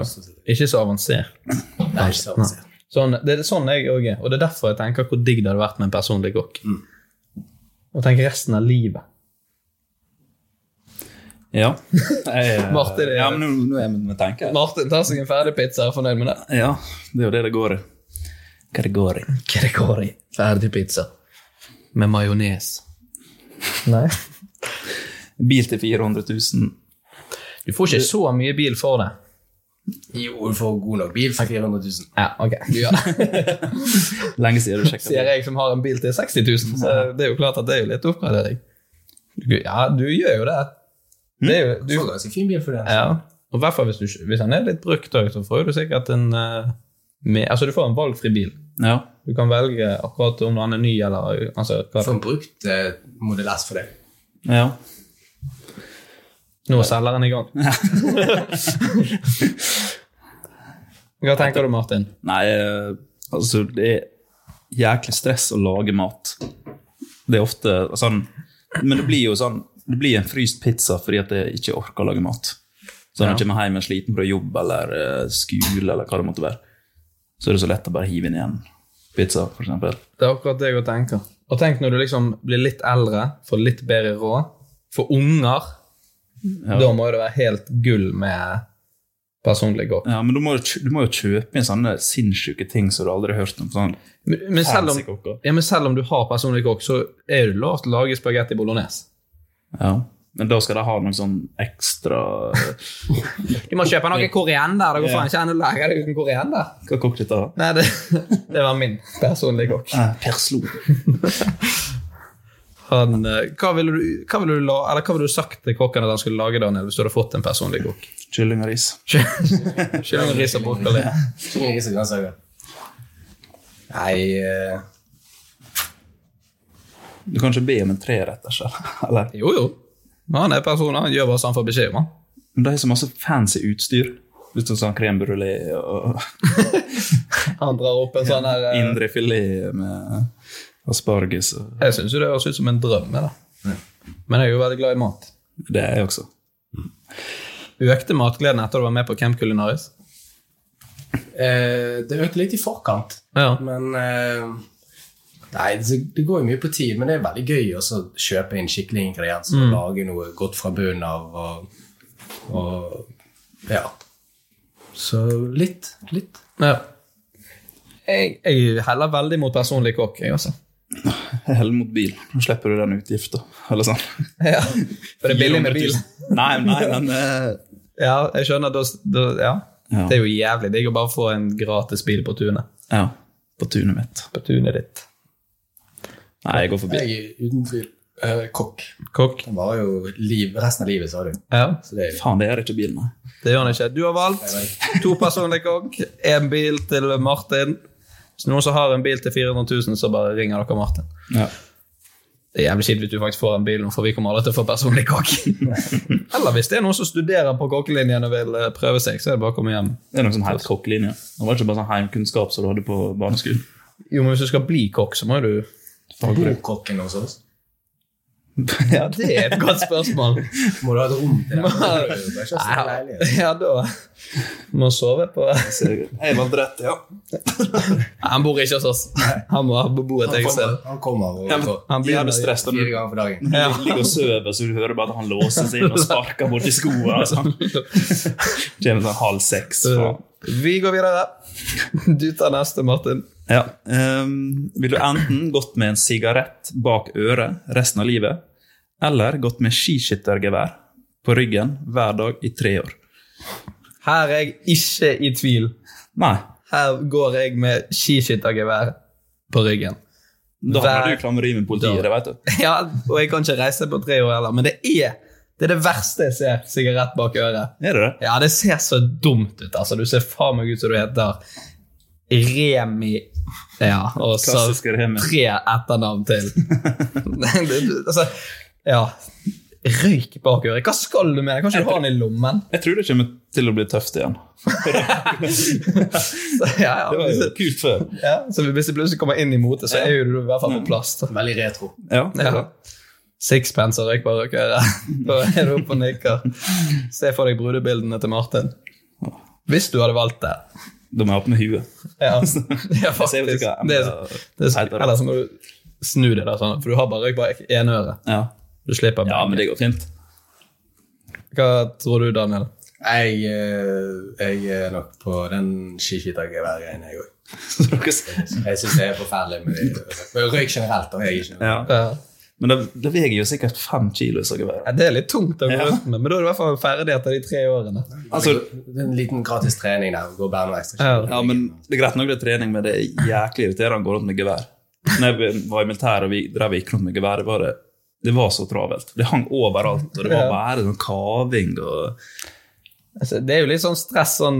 S1: Ikke så avansert.
S3: det er ikke så avansert.
S1: Sånn, det er sånn jeg òg er, og det er derfor jeg tenker hvor digg det hadde vært med en personlig kokk. Og tenk resten av livet.
S2: Ja. Jeg, eh,
S1: Martin er-
S2: ja, men nå, nå er jeg med tenker jeg.
S1: Martin tar seg en ferdig pizza og er fornøyd med det.
S2: Ja, det er jo det det går i. Hva det går i?
S1: Gregori, ferdig pizza. Med majones. Nei.
S2: Bil til 400 000.
S1: Du får ikke så mye bil for det.
S3: Jo, du får god nok bil for 400 000.
S1: Ja, ok. Du gjør det.
S2: Lenge siden du sjekka
S1: Sier jeg som har en bil til 60 000, så det er jo klart at det er jo litt oppgradering. Du- Ja, du gjør jo det. det er jo,
S3: Du
S1: du,
S3: får ganske fin bil for det.
S1: ja. Og i hvert fall hvis, du, hvis han er litt brukt, da, så får du sikkert en eh, med, Altså, du får en valgfri bil.
S2: Ja.
S1: Du kan velge akkurat om han er ny eller altså, hva
S3: Du får en brukt eh, modell S for det.
S2: ja.
S1: Nå er selgeren i gang. Hva tenker du, Martin?
S2: Nei, eh, altså Det er jæklig stress å lage mat. Det er ofte sånn Men det blir jo sånn Det blir en fryst pizza fordi at jeg ikke orker å lage mat. Så når jeg kommer hjem sliten fra jobb eller eh, skole, eller hva det måtte være, så er det så lett å bare hive inn igjen pizza, for eksempel.
S1: Det er akkurat det jeg tenker. Og tenk når du liksom blir litt eldre, får litt bedre råd, får unger.
S2: Ja.
S1: Da må det være helt gull med personlig kokk.
S2: Ja, men du må, jo kjø- du må jo kjøpe inn sånne sinnssyke ting som du aldri har hørt om. Sånn.
S1: Men, men, selv
S2: Fancy
S1: om,
S2: kokker.
S1: ja, men selv om du har personlig kokk, så er du lov til å lage spagetti bolognese.
S2: Ja. Men da skal de ha noe sånn ekstra eh,
S1: Du må kjøpe noe koriander. Det går faen ikke an å lage det uten koriander.
S2: Hva kokk dette da?
S1: Nei, det, det var min personlige kokk.
S2: Eh, Perslo.
S1: Han, eh, hva ville du, hva ville du, la, eller hva ville du sagt til kokken at han skulle lage, Daniel, hvis du hadde fått en personlig kokk?
S2: Kylling og ris.
S1: Kylling, ris og brokkoli.
S3: Kylling, ris og grønnsaker. Nei eh,
S2: Du kan ikke be om en treretters, eller?
S1: Jo, jo. Han er person, han gjør hva som han får beskjed om. han.
S2: Men de har så masse fancy utstyr. Litt sånn sånn crème brulé og
S1: Han drar opp en sånn her eh,
S2: indrefilet med asparges. og-
S1: Jeg syns jo det høres ut som en drøm. jeg, Da. Men jeg er jo veldig glad i mat.
S2: Det er jeg også.
S1: Økte matgleden etter du var med på Camp Culinaris?
S3: Eh, det økte litt i forkant,
S1: Ja.
S3: men eh, Nei, det, det går jo mye på tid, men det er veldig gøy også å kjøpe inn skikkelige ingredienser
S1: Mm.
S3: og lage noe godt fra bunnen av. Og, og ja. Så litt, litt.
S1: Ja. Jeg, jeg heller veldig mot personlig kokk, jeg altså. også.
S2: Hell mot bil. Nå slipper du den utgifta, eller sånn.
S1: Ja. For det er billig med bil.
S2: 400 000. Nei, nei, men eh,
S1: Ja, jeg skjønner. Da, da, ja.
S2: Ja.
S1: Det er jo jævlig digg å bare få en gratis bil på tunet.
S2: Ja. På tunet mitt.
S1: På tunet ditt.
S2: Nei, jeg går for bil.
S3: Jeg er uten tvil eh, kokk.
S1: Kokk.
S3: Det var jo liv, resten av livet, sa du.
S1: Ja,
S3: Så det er
S2: Faen, det er ikke bil, nei.
S1: det gjør han ikke. Du har valgt to personlige kokk, én bil til Martin. Hvis noen som har en bil til 400 000, så bare ringer dere Martin.
S2: Ja.
S1: Det er jævlig kjipt hvis du faktisk får en bil nå, for vi kommer aldri til å få personlig kokk. Eller hvis det er noen som studerer på kokkelinjen og vil eh, prøve seg, så er det bare å komme hjem.
S2: Det er noe som heter kokkelinje. Det var ikke bare sånn heimkunnskap som du hadde på barneskolen.
S1: Jo, men hvis du skal bli kokk, så må jo du
S3: bor kokken hos oss.
S1: Ja, det er et godt spørsmål.
S3: Må du ha et rom til det?
S1: Må- Ja, da må sove på
S2: Jeg valgte rett, ja.
S1: Han bor ikke hos oss. Han må bo et
S3: Han
S1: eget sted.
S3: kommer- han kommer og-
S1: Ja, men han blir
S2: Jævlig stress da du-
S3: fire ganger for dagen.
S2: Når du ligger og sover, så du hører bare at han låser seg inn og sparker borti skoene. Altså. Kommer sånn halv seks. faen.
S1: Vi går videre. Du tar neste, Martin.
S2: Ja. ehm, vil du enten gått med en sigarett bak øret resten av livet, eller gått med skiskyttergevær på ryggen hver dag i tre år?
S1: Her er jeg ikke i tvil.
S2: Nei.
S1: Her går jeg med skiskyttergevær på ryggen.
S2: Da har
S1: Hver
S2: du klammeri med politiet, det vet du.
S1: Ja, og jeg kan ikke reise på tre år heller, men det er det, er det verste jeg ser. Sigarett bak øret.
S2: Er det det?
S1: Ja, det ser så dumt ut. altså. Du ser faen meg ut som du heter Remi Ja, og så
S2: Klassiske Remi.
S1: tre etternavn til. Det- det- altså, ja. Røyk bak øret. Hva skal du med det? Kan ikke du ha den i lommen?
S2: Jeg tror det kommer til å bli tøft igjen.
S1: Så, ja, ja.
S2: Det var jo kult før.
S1: Ja, så hvis det plutselig kommer inn i motet, så er jo du i hvert fall på plass. da.
S3: Veldig retro.
S2: Ja, det er
S1: Ja.
S2: det.
S1: Sixpence og røyk bak øret. Da er du oppe og nikker. Se for deg brudebildene til Martin. Hvis du hadde valgt det.
S2: Da må jeg ha på meg huet.
S1: Ja, ja faktisk. Det er, det er, eller så må du snu det der, sånn, for du har bare røyk bak ene øret.
S2: Ja.
S1: Du slipper
S2: ja, men det
S1: begge.
S2: går fint.
S1: Hva tror du, Daniel?
S3: Jeg, eh, jeg er nok på den skiskyttergeværet, jeg òg.
S2: Så dere ser-
S3: Jeg syns det er forferdelig med det. røyk generelt. da, jeg er ikke noe.
S2: Ja.
S1: Ja.
S2: Men det, det veier jo sikkert fem kilo. Så
S1: Ja, det er litt tungt å gå
S2: Ja.
S1: rundt med, men da er du i hvert fall ferdig etter de tre årene.
S2: altså,
S3: Det er en liten gratis trening der. Gå bare noe ekstra.
S1: Ja.
S2: ja, men Det er greit nok det er trening, men det er jæklig irriterende å gå rundt med gevær. Når jeg var i militæret og vi drev gikk rundt med gevær, det var det, det var så travelt. Det hang overalt, og det var bare sånn kaving og
S1: Altså, det er jo litt sånn stress sånn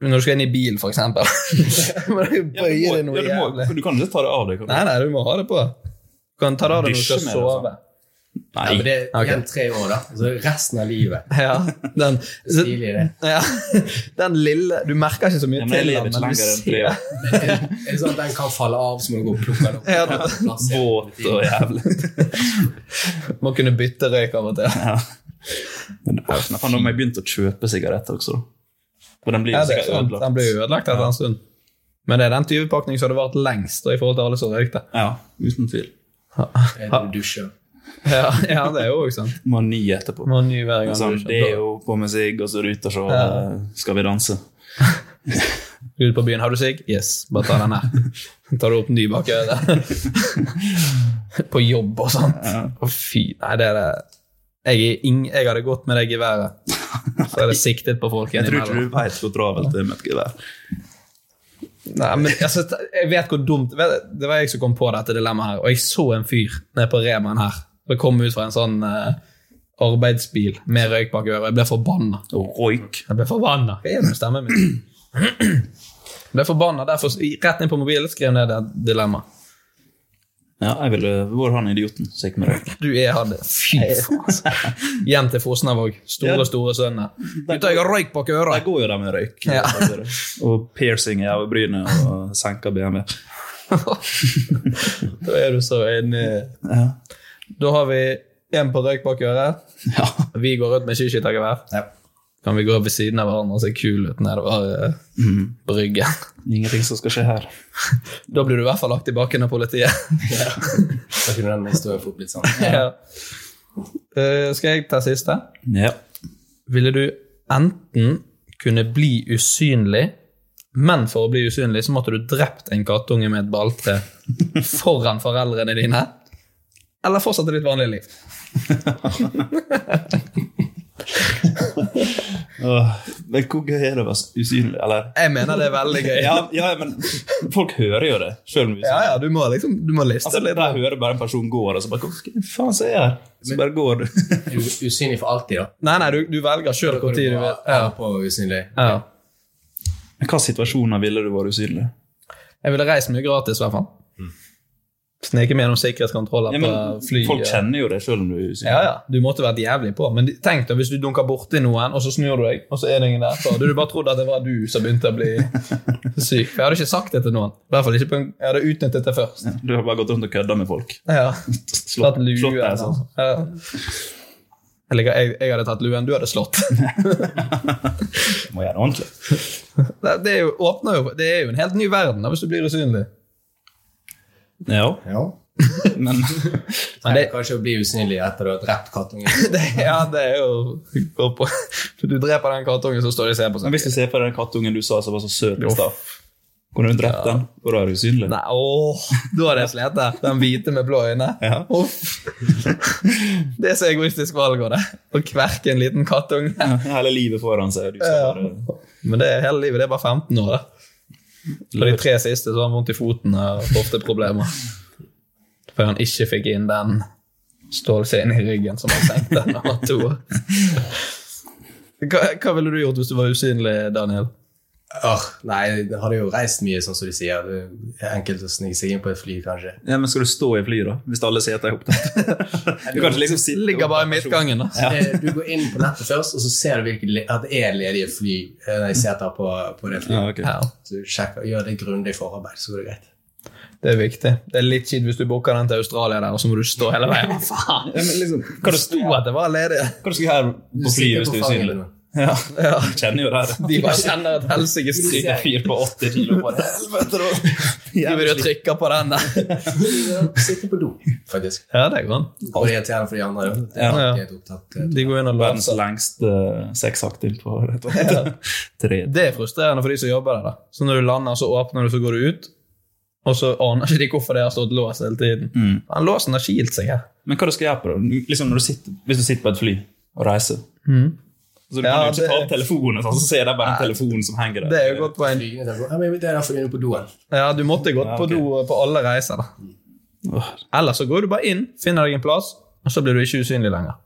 S1: når du skal inn i bil, for eksempel. Må du bøye deg
S2: Ja,
S1: noe
S2: du, må,
S1: jævlig.
S2: du kan ikke ta det av deg. kan du?
S1: Nei, nei, du må ha det på. Du kan ta det av deg når du
S2: Dusje
S1: skal
S2: med det, altså.
S1: sove.
S3: Ja, men
S2: Nei.
S3: det er igjen tre år, da. Så resten av livet.
S1: Ja, den,
S3: Stilig, det.
S1: ja, den lille Du merker ikke så mye
S2: Ja, men jeg
S1: til
S2: lever
S1: den,
S2: ikke
S1: men du
S2: lenger enn tre
S1: ser
S2: år.
S3: Er det sånn at den kan falle av, så må du gå og plukke den opp.
S1: Ja,
S3: Ta den på plass igjen.
S2: Våt og jævlig.
S1: Må kunne bytte røyk av og til.
S2: Men faen, Nå har jeg begynt å kjøpe sigaretter også, da. For den blir
S1: Ja,
S2: jo
S1: det er
S2: sikkert
S1: sant.
S2: ødelagt.
S1: Den blir jo ødelagt etter en stund. Men det er den type pakning som hadde vart lengst da, i forhold til alle som røykte.
S2: Ja, uten tvil.
S3: Er det du dusjer?
S1: Ja, ja, det er jo også sant.
S2: Må ha ny etterpå.
S1: Må ha ny hver gang
S2: Sånn,
S1: du
S2: det er jo på med sigg, og så ruter så
S1: Ja.
S2: skal vi danse.
S1: Ut på byen, har du sigg? Yes, bare ta den her. Tar du opp ny bak øret. på jobb og sånt. Å, fy. Nei, det er det. Jeg, er ing jeg hadde gått med det geværet. Så er det siktet på folk
S2: Jeg tror ikke
S1: innimellom.
S2: du veit hvor travelt det er med et gevær.
S1: Nei, men altså, jeg vet hvor dumt vet, Det var jeg som kom på dette dilemmaet her, og jeg så en fyr nede på Remaen her. Det kom ut fra en sånn eh, arbeidsbil med røyk bak øret, og jeg ble forbanna.
S2: Roik.
S1: Jeg ble forbanna. Hva er det med stemmen min? Jeg ble forbanna. Derfor rett inn på mobilen skrev jeg ned det dilemmaet.
S2: Ja, jeg ville vært han idioten som gikk med røyk.
S1: Du er han. Fy faen. altså. Hjem til Fosnavåg. Store,
S2: Ja.
S1: store sønner. Gutta, jeg har røyk bak øra!
S2: Der går jo de med røyk.
S1: Ja.
S2: Og piercing i øyebrynet og senka BMW.
S1: da er du så enig.
S2: Ja.
S1: Da har vi en på røyk bak øret.
S2: Ja.
S1: Vi går rundt med skiskyttergevær.
S3: Ja.
S1: Kan vi gå ved siden av hverandre og se kul ut nedover eh,
S3: Mhm.
S1: bryggen?
S2: Ingenting som skal skje her.
S1: Da blir du i hvert fall lagt i bakken av politiet.
S3: Da kunne den historien fort blitt sånn.
S1: Ja. Eh, skal jeg ta siste?
S2: Ja.
S1: ville du enten kunne bli usynlig, men for å bli usynlig så måtte du drept en kattunge med et balltre foran foreldrene dine, eller fortsette ditt vanlige liv?
S2: Åh, Men hvor gøy er det å være usynlig, eller?
S1: Jeg mener det er veldig gøy.
S2: Ja, ja, men folk hører jo det, sjøl om vi er
S1: ja,
S2: usynlige.
S1: ja, du må liksom du må liste
S2: Altså,
S1: litt.
S2: der hører bare en person går, og så bare Hva faen så er jeg her? Så bare går du.
S3: Er du usynlig for alltid, da?
S1: Nei, nei, du, du velger sjøl
S3: Går
S1: hvor
S3: du
S1: tid du
S3: på,
S1: vil. Ja.
S3: på usynlig?
S1: Ja.
S2: I hvilke situasjoner ville du vært usynlig?
S1: Mm. Jeg ville reist mye gratis, i hvert fall. sneke meg gjennom sikkerhetskontroller
S2: Ja,
S1: på
S2: men
S1: eh, fly.
S2: folk
S1: og-
S2: kjenner jo det selv om du er usikker.
S1: Ja, ja. Du måtte vært jævlig på. Men tenk da, hvis du dunker borti noen, og så snur du deg, og så er det ingen der. Så hadde du bare trodd at det var du som begynte å bli syk. For jeg hadde ikke sagt det til noen. I hvert fall ikke på en, Jeg hadde utnyttet det først.
S2: Du har bare gått rundt og kødda med folk.
S1: Ja. Tatt luen.
S2: slått deg, sånn.
S1: Ja. Jeg, liker- jeg, jeg hadde tatt luen, du hadde slått.
S2: Må gjøre det ordentlig.
S1: Det, det, er jo, åpner jo, det er jo en helt ny verden da, hvis du blir usynlig.
S2: Ja. Men,
S3: Trenger kanskje å bli usynlig etter du har drept kattungen.
S1: Det, ja, det er jo går på. Du dreper den kattungen, så står de og ser på.
S2: men hvis du ser på den kattungen du sa som var så søt i stad, kunne du drept
S1: Ja.
S2: den? Og da er du usynlig?
S1: Nei, åh, da hadde jeg slitt. der. Den hvite med blå øyne.
S2: Ja.
S1: Uff. Det er så egoistisk valg av det. Å kverke en liten kattunge.
S2: Hele livet foran seg. Du
S1: Ja.
S2: ser bare-
S1: Men det er hele livet. Det er bare 15 år, da. For de tre siste så har han vondt i foten og hofteproblemer. Før han ikke fikk inn den stålscenen i ryggen som han tenkte da han var to år. Hva, hva ville du gjort hvis du var usynlig, Daniel?
S3: Åh, nei, det hadde jo reist mye, sånn som de sier. Det er enkelt å snike seg inn på et fly, kanskje.
S2: Ja, men skal du stå i flyet, da? Hvis alle seter er opptatt? Du kan ikke liksom sitte
S1: Ligger bare i midtgangen, da.
S2: Ja.
S3: Eh, Du går inn på nettet først, og så ser du hvilke, le- at det er ledige fly eh, nei, seter på, på det flyet.
S2: Ja, ok.
S1: Ja.
S3: Så du sjekker, gjør det grundig forarbeid, så går det greit.
S1: Det er viktig. Det er litt kjipt hvis du booker den til Australia, der, og så må du stå hele veien. Hva faen?
S2: Ja, men liksom,
S1: Hva det sto at det var ledig?
S2: Hva du skal her på
S3: sitter
S2: flyet hvis
S3: på
S2: du er
S3: fanget
S2: usynlig?
S3: nå.
S2: Ja, du kjenner jo det her.
S1: De bare kjenner et helsike
S2: Syke
S1: stryk.
S2: fyr på 80 kilo. Bare, helvete,
S1: De vil jo trykke på den der.
S3: Sitte på do, faktisk.
S1: Ja, det går an.
S3: Og det er irriterende for de andre. da. Det er
S1: Ja.
S3: ikke helt opptatt. eh,
S1: De går inn og
S2: Verdens
S1: låser.
S2: lengste eh, sexaktiv på et tre.
S1: Det er frustrerende for de som jobber der. da. Så når du lander, så åpner du, så går du ut. Og så aner ikke de hvorfor det har stått låst hele tiden.
S2: Mm.
S1: Den låsen har kilt seg her.
S2: Men hva du skal gjøre på det? Liksom når du sitter, hvis du sitter på et fly og reiser Så Du
S1: Mm. Ja,
S2: kan jo ikke
S1: det-
S2: ta opp telefonen, sånn, så ser de bare en telefon som henger der.
S1: Det er jo godt poeng.
S3: flygende telefoner. Ja, men det er derfor vi er inne på doen.
S1: Ja, du måtte gått
S2: Ja,
S1: på
S2: ok.
S1: do på alle reiser, da. Eller så går du bare inn, finner deg en plass, og så blir du ikke usynlig lenger.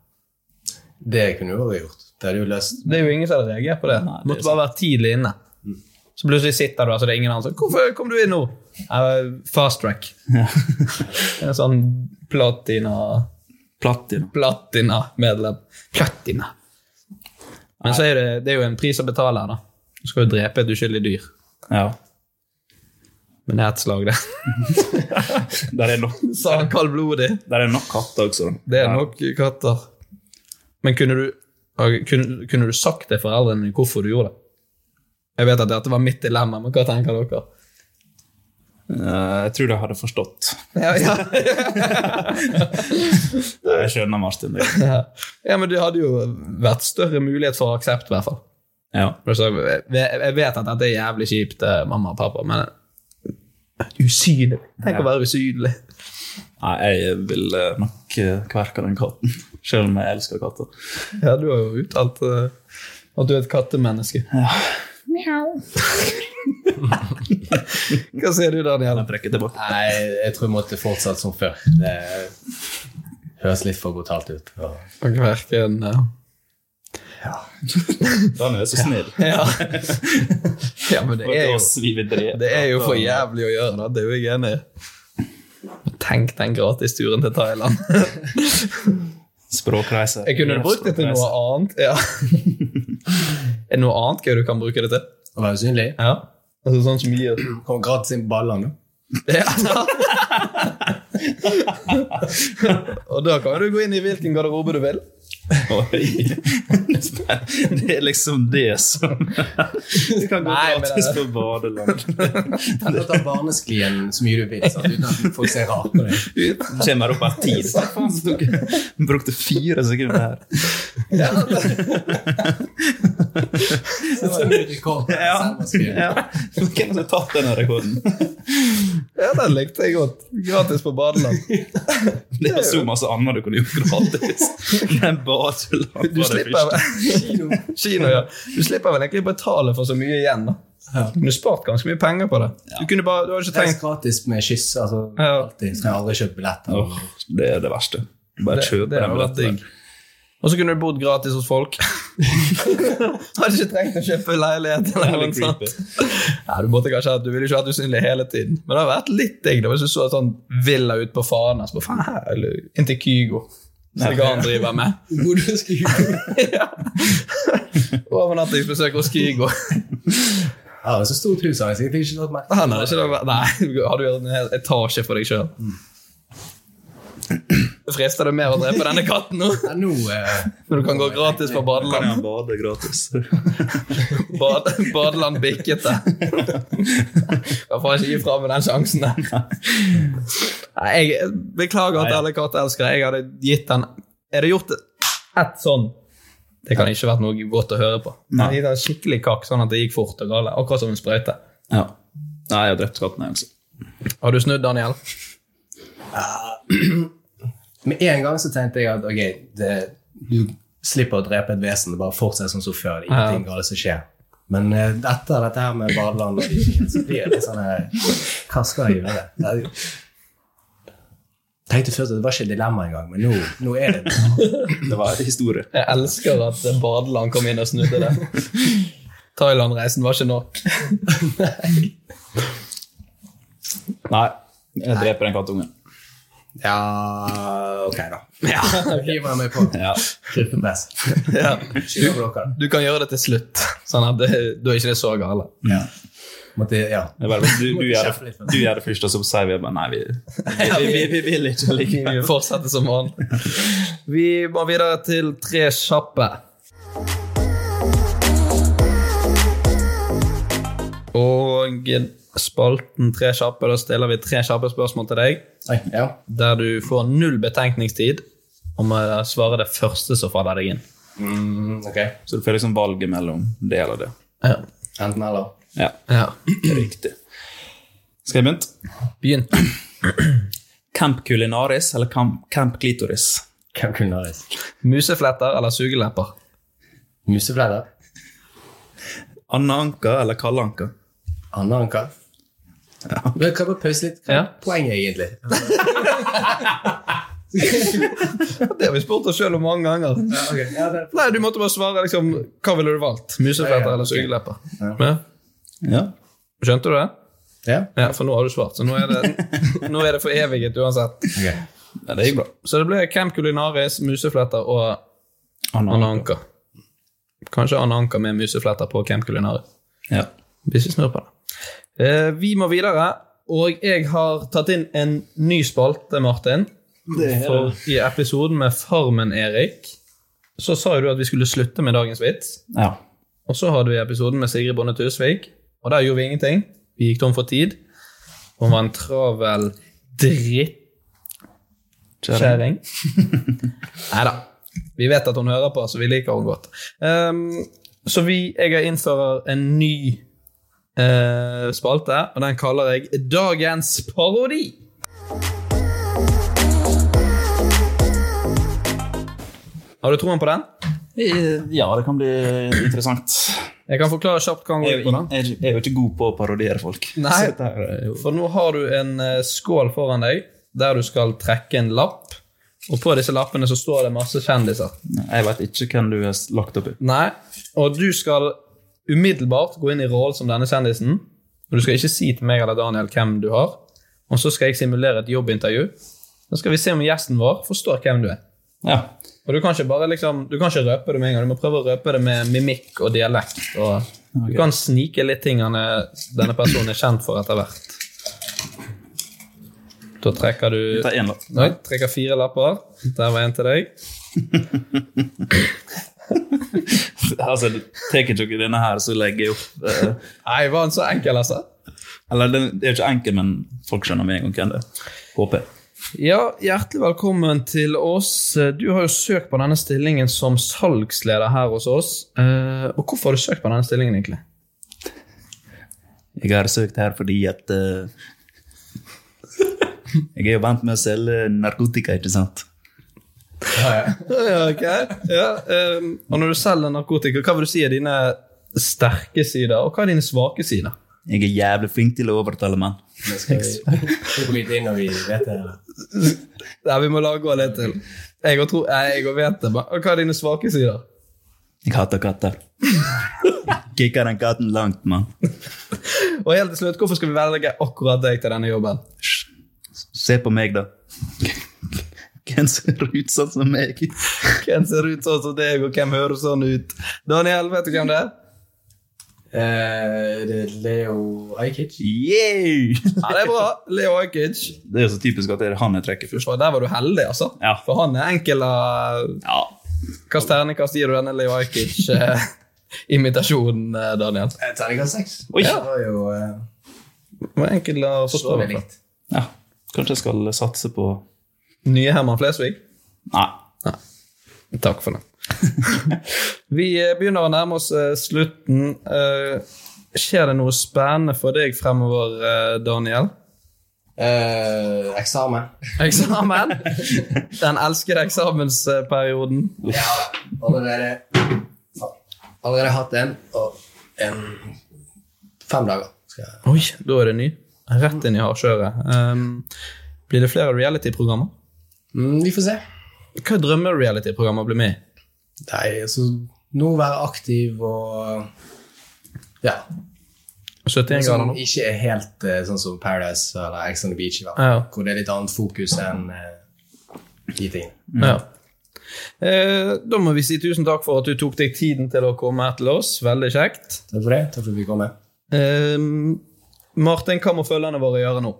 S3: Det kunne du også gjort. Det hadde jo løst.
S1: Det er jo ingen som hadde reagert på det.
S2: Nei, det er
S1: Måtte bare være tidlig inne. Så plutselig sitter du der, så det er ingen andre som 'Hvorfor kom du inn nå?' Eh, Fast track. en sånn platina
S2: Platina.
S1: Platina-medlem. Platina. Men så er det, det er jo en pris å betale her, da. Du skal jo drepe et uskyldig dyr.
S2: Ja.
S1: Men det er et slag, det.
S2: Der er nok,
S1: Sa han kaldblodig.
S2: der er nok katter også. da.
S1: Det er nok katter. Men kunne du, ok, kunne, kunne du sagt til foreldrene dine hvorfor du gjorde det? Jeg vet at dette var mitt dilemma, men hva tenker dere?
S2: Eh, Jeg tror de hadde forstått.
S1: Ja, ja.
S2: Jeg skjønner, Martin. det.
S1: ja, men det hadde jo vært større mulighet for aksept, i hvert fall.
S2: Ja.
S1: For så- Jeg jeg vet at dette er jævlig kjipt, eh, mamma og pappa, men usynlig. Tenk å være usynlig.
S2: Nei, jeg vil eh, nok eh, kverke den katten. Selv om jeg elsker katter.
S1: Ja, du har jo uttalt eh, at du er et kattemenneske. Hva sier du, Daniel?
S2: Jeg trekker tilbake.
S3: Nei, jeg tror jeg måtte fortsatt som før. Det høres litt for brutalt ut. Og
S1: Og hverken eh,
S2: Daniel er så snill.
S1: Ja. ja, men det
S2: Det
S1: er, jo,
S2: er,
S1: det er jo for jævlig å gjøre, da. Det er jo jeg enig i. Tenk den gratisturen til Thailand.
S2: Språkreise.
S1: Jeg kunne brukt det til noe annet. Ja. Er det noe annet gøy du kan bruke det til?
S3: å være usynlig.
S1: Ja. Altså sånn som gir
S3: Kom gratis inn på ballene.
S1: ja. Og da kan du gå inn i hvilken garderobe du vil.
S2: Oi. Det er liksom det som Du kan gå
S1: Nei, men
S2: gratis
S1: det-
S2: på badeland.
S3: Eller ta barnesklien så mye du vil, sant? uten at folk ser rart på deg.
S2: Kommer opp av tid. Faen, så tok jeg- Brukte fire sekunder her.
S3: Det var en ny rekord på
S2: Ja.
S3: barnesklien.
S2: ja. Hvem har tatt denne rekorden?
S1: Ja, den likte jeg godt. Gratis på badeland.
S2: Det er så masse annet du kunne gjort gratis. Men badeland var
S1: Du
S2: det
S1: slipper,
S2: første.
S1: Kino, ja. du slipper vel egentlig betale for så mye igjen. da. Du kunne spart ganske mye penger på det. Du kunne bare, du har ikke
S3: Det er
S1: tenkt
S3: gratis med kyss. Altså,
S1: Ja.
S3: alltid. Så jeg har aldri kjøpt billetter.
S2: Åh, det er det verste. Bare
S1: Det-
S2: kjøp
S1: det
S2: den
S1: har vært
S2: billetten.
S1: digg. Og så kunne du bodd gratis hos folk. Hadde ikke trengt å kjøpe leilighet. eller noe sånt. Ja, du måtte kanskje at du ville ikke vært usynlig hele tiden, men det har vært litt digg. Det var ikke så sånn villa ut på Fanes, på faen her, eller inntil Kygo. Sigan driver med.
S3: Bodde hos Kygo.
S1: Overnattingsbesøk hos Kygo.
S3: Ja, det er så stort hus, har jeg sikkert ikke tatt merke
S1: Han hadde ikke Ah, det. Nei, har du gjort en hel etasje for deg sjøl? Frister det mer å drepe denne katten nå?
S3: Ja, nå eh,
S1: Når du kan gå gratis på
S2: Kan
S1: badeland?
S2: jeg bade gratis?
S1: Bad, badeland bikkete. Kan faen ikke gi fra meg den sjansen der. Nei, Jeg beklager at alle katteelskere. Jeg hadde gitt den Er det gjort ett sånn? Det kan ikke vært noe godt å høre på. Jeg hadde gitt den en skikkelig kakk, sånn at det gikk fort og galt. Akkurat som en sprøyte.
S2: Ja. Nei, jeg har drept katten, jeg altså. også.
S1: Har du snudd, Daniel?
S3: Med en gang så tenkte jeg at ok, det, du slipper å drepe et vesen, det bare fortsetter som så før. Det er ingenting galt som skjer. Men eh, etter dette her med badeland og vikingen, så blir det litt sånn her Hva skal jeg gjøre? Jeg tenkte først at det var ikke et dilemma engang, men nå, nå er det
S2: Det var en historie.
S1: Jeg elsker at badeland kom inn og snudde det. Thailand-reisen var ikke nok.
S2: Nei, jeg dreper den kattungen.
S3: Ja, ok, da.
S1: Ja,
S3: Hiver jeg meg på.
S2: Ja.
S3: Kryppepress.
S1: ja.
S3: Skylder på dere.
S1: Du kan gjøre det til slutt, sånn at det, da er ikke det så gale.
S2: Ja.
S3: Måtte, ja.
S2: Det er bare, du, du,
S3: Måtte
S2: gjør
S3: kjefte
S2: det,
S3: litt, men-
S2: du gjør det først, og så sier vi bare nei. Vi,
S1: vi, vil ikke Vi fortsetter som vanlig. Vi må videre til tre kjappe. Og spalten Tre kjappe, da stiller vi tre kjappe spørsmål til deg.
S3: Oi, ja.
S1: der du får null betenkningstid og må svare det første som faller deg inn.
S3: Mm, ok.
S2: så du får liksom valget mellom det eller det.
S1: Ja.
S3: Enten eller.
S2: Ja, riktig. Skal jeg begynne?
S1: Begynn.
S2: Camp culinaris eller camp, camp clitoris?
S3: Hvem kunne ha reist?
S1: Musefletter eller sugelepper?
S3: Musefletter?
S2: Anna Anka eller Kalle Anka?
S3: Anna Anka? Men Kan jeg bare pause litt? Hva er
S1: Ja.
S3: poenget, egentlig?
S1: Det har vi spurt oss sjøl om mange ganger.
S3: Ja, ok. Ja, det,
S1: Nei, Du måtte bare svare liksom, hva ville du valgt. Musefletter
S3: Ja, ja,
S1: eller
S3: ok.
S1: sugelepper?
S3: Ja.
S1: Ja.
S2: Ja.
S1: Skjønte du det?
S3: ja?
S1: Ja, For nå har du svart, så nå er det, nå er det for eviget uansett.
S3: Ok.
S2: ja, det gikk bra.
S1: Så det ble Camp Culinaris, musefletter og
S2: Anna
S1: Anna Anka. Kanskje Anna Anka med musefletter på Camp Culinaris.
S2: Ja.
S1: Hvis vi snur på det. Eh, vi må videre, og jeg har tatt inn en ny spalte, Martin. For I episoden med Farmen-Erik så sa jo du at vi skulle slutte med dagens vits.
S2: ja.
S1: Og så hadde vi episoden med Sigrid Bonde Tusvik, og der gjorde vi ingenting. Vi gikk tom for tid. Hun var en travel drittkjerring. Nei da. Vi vet at hun hører på, så vi liker henne godt. Ehm, så vi, jeg innfører en ny eh, spalte, og den kaller jeg Dagens parodi. Har du troen på den?
S2: Ja, det kan bli interessant.
S1: Jeg kan forklare kjapt hva den
S2: Jeg er
S1: går ut på.
S2: jo
S1: da.
S2: jeg er jo ikke god på å parodiere folk.
S1: Nei.
S2: Så dette her er jo-
S1: For nå har du en eh, skål foran deg der du skal trekke en lapp. Og på disse lappene så står det masse kjendiser.
S2: Jeg vet ikke hvem du har lagt opp i.
S1: Nei, Og du skal umiddelbart gå inn i rollen som denne kjendisen. Og du skal ikke si til meg eller Daniel hvem du har. Og så skal jeg simulere et jobbintervju. Så skal vi se om gjesten vår forstår hvem du er.
S2: Ja.
S1: Og du kan ikke bare liksom, du kan ikke røpe det med en gang. Du må prøve å røpe det med mimikk og dialekt. Og du kan snike litt ting han er- denne personen er kjent for etter hvert. Da trekker du
S2: Ta en lapp.
S1: Nei, trekker fire lapper. Der var en til deg.
S2: Altså, tar ikke dere denne her, så legger jeg opp eh,
S1: Nei, var han så enkel, altså?
S2: Eller den, det er jo ikke enkel, men folk skjønner med en gang hvem det er. Håper jeg.
S1: Ja, hjertelig velkommen til oss. Du har jo søkt på denne stillingen som salgsleder her hos oss. Eh, Og hvorfor har du søkt på denne stillingen, egentlig?
S2: Jeg har søkt her fordi at eh, Jeg er jo vant med å selge narkotika, ikke sant?
S3: Ja, ja.
S1: Ja, ok. Ja, ehm, og når du selger narkotika, hva vil du si er dine sterke sider, og hva er dine svake sider?
S2: Jeg er jævlig flink til å overtale menn.
S3: Nå skal vi, vi bryte inn når vi vet det. Eller?
S1: Nei, vi må la gå litt til. Jeg og, tro, nei, jeg og vet det. men- Og hva er dine svake sider?
S2: Jeg hater katter. Kikker den katten langt, mann.
S1: Og helt til slutt, hvorfor skal vi velge akkurat deg til denne jobben?
S2: Se på meg, da. Hvem ser ut sånn som meg?
S1: Hvem ser ut sånn som deg, og hvem hører sånn ut? Daniel, vet du hvem det er?
S3: Eh, det er Leo Ajkic.
S1: Ja, det er bra. Leo Ajkic.
S2: Det er jo så typisk at det er han jeg trekker først.
S1: Og Der var du heldig, altså. For han er enkel eh, av
S2: ja.
S1: Hvilken terningkast gir du denne Leo Ajkic-imitasjonen, eh, Daniel?
S3: Terningkast seks.
S1: Oi.
S3: Det var jo eh,
S1: Var enkel å forstå.
S3: Slå det
S1: i hvert fall.
S2: Ja, Kanskje jeg skal satse på
S1: Nye Herman Flesvig?
S2: Nei.
S1: Takk for det. Vi eh, begynner å nærme oss eh, slutten. Eh, Skjer det noe spennende for deg fremover, eh, Daniel?
S3: eh, eksamen.
S1: Eksamen? Den elskede eksamensperioden.
S3: Ja, allerede Allerede hatt en, og en fem dager. skal jeg-
S1: Oi, da er det ny. Rett inn i hardkjøret. Um, blir det flere reality-programmer?
S3: Mm, vi får se.
S1: Hva drømmer reality-programmer blir med i?
S3: Nei, altså Nå være aktiv og Ja.
S1: 71 grader
S3: Som
S1: nå.
S3: ikke er helt eh, sånn som Paradise eller Ex on the Beach, i hvert
S1: Ja,
S3: fall.
S1: ja.
S3: Hvor det er litt annet fokus enn eh, de tingene.
S1: Ja. Eh, da må vi si tusen takk for at du tok deg tiden til å komme her til oss. Veldig kjekt.
S3: Takk for det. Takk for at vi kom med.
S1: Ehm, Martin, hva må følgerne våre gjøre nå?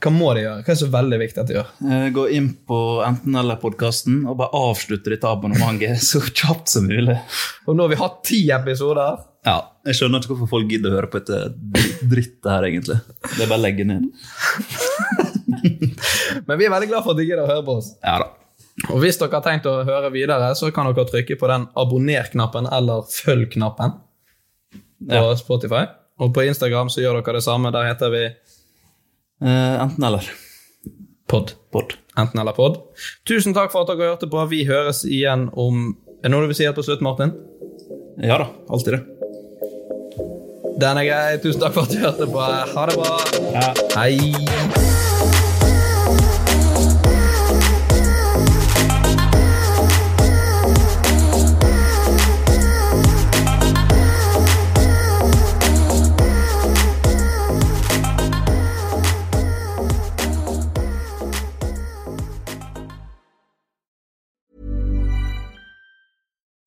S1: Hva må de gjøre? Hva er så veldig viktig at de gjør?
S2: Eh, Gå inn på enten-eller-podkasten og bare avslutte dette abonnementet så kjapt som mulig.
S1: Og nå har vi hatt ti episoder.
S2: Ja, Jeg skjønner ikke hvorfor folk gidder å høre på dette dr- drittet her, egentlig. Det er bare å legge ned.
S1: Men vi er veldig glad for at de gidder å høre på oss.
S2: Ja da.
S1: Og hvis dere har tenkt å høre videre, så kan dere trykke på den abonner-knappen eller følg-knappen på Spotify. Og på Instagram så gjør dere det samme. Der heter vi
S2: Eh, Enten-eller.
S1: Pod. Enten eller pod. Tusen takk for at dere hørte på. Vi høres igjen om Er det noe du vil si helt på slutt, Martin?
S2: Ja da. Alltid det.
S1: Den er grei. Tusen takk for at du hørte på. Ha det bra. Hei.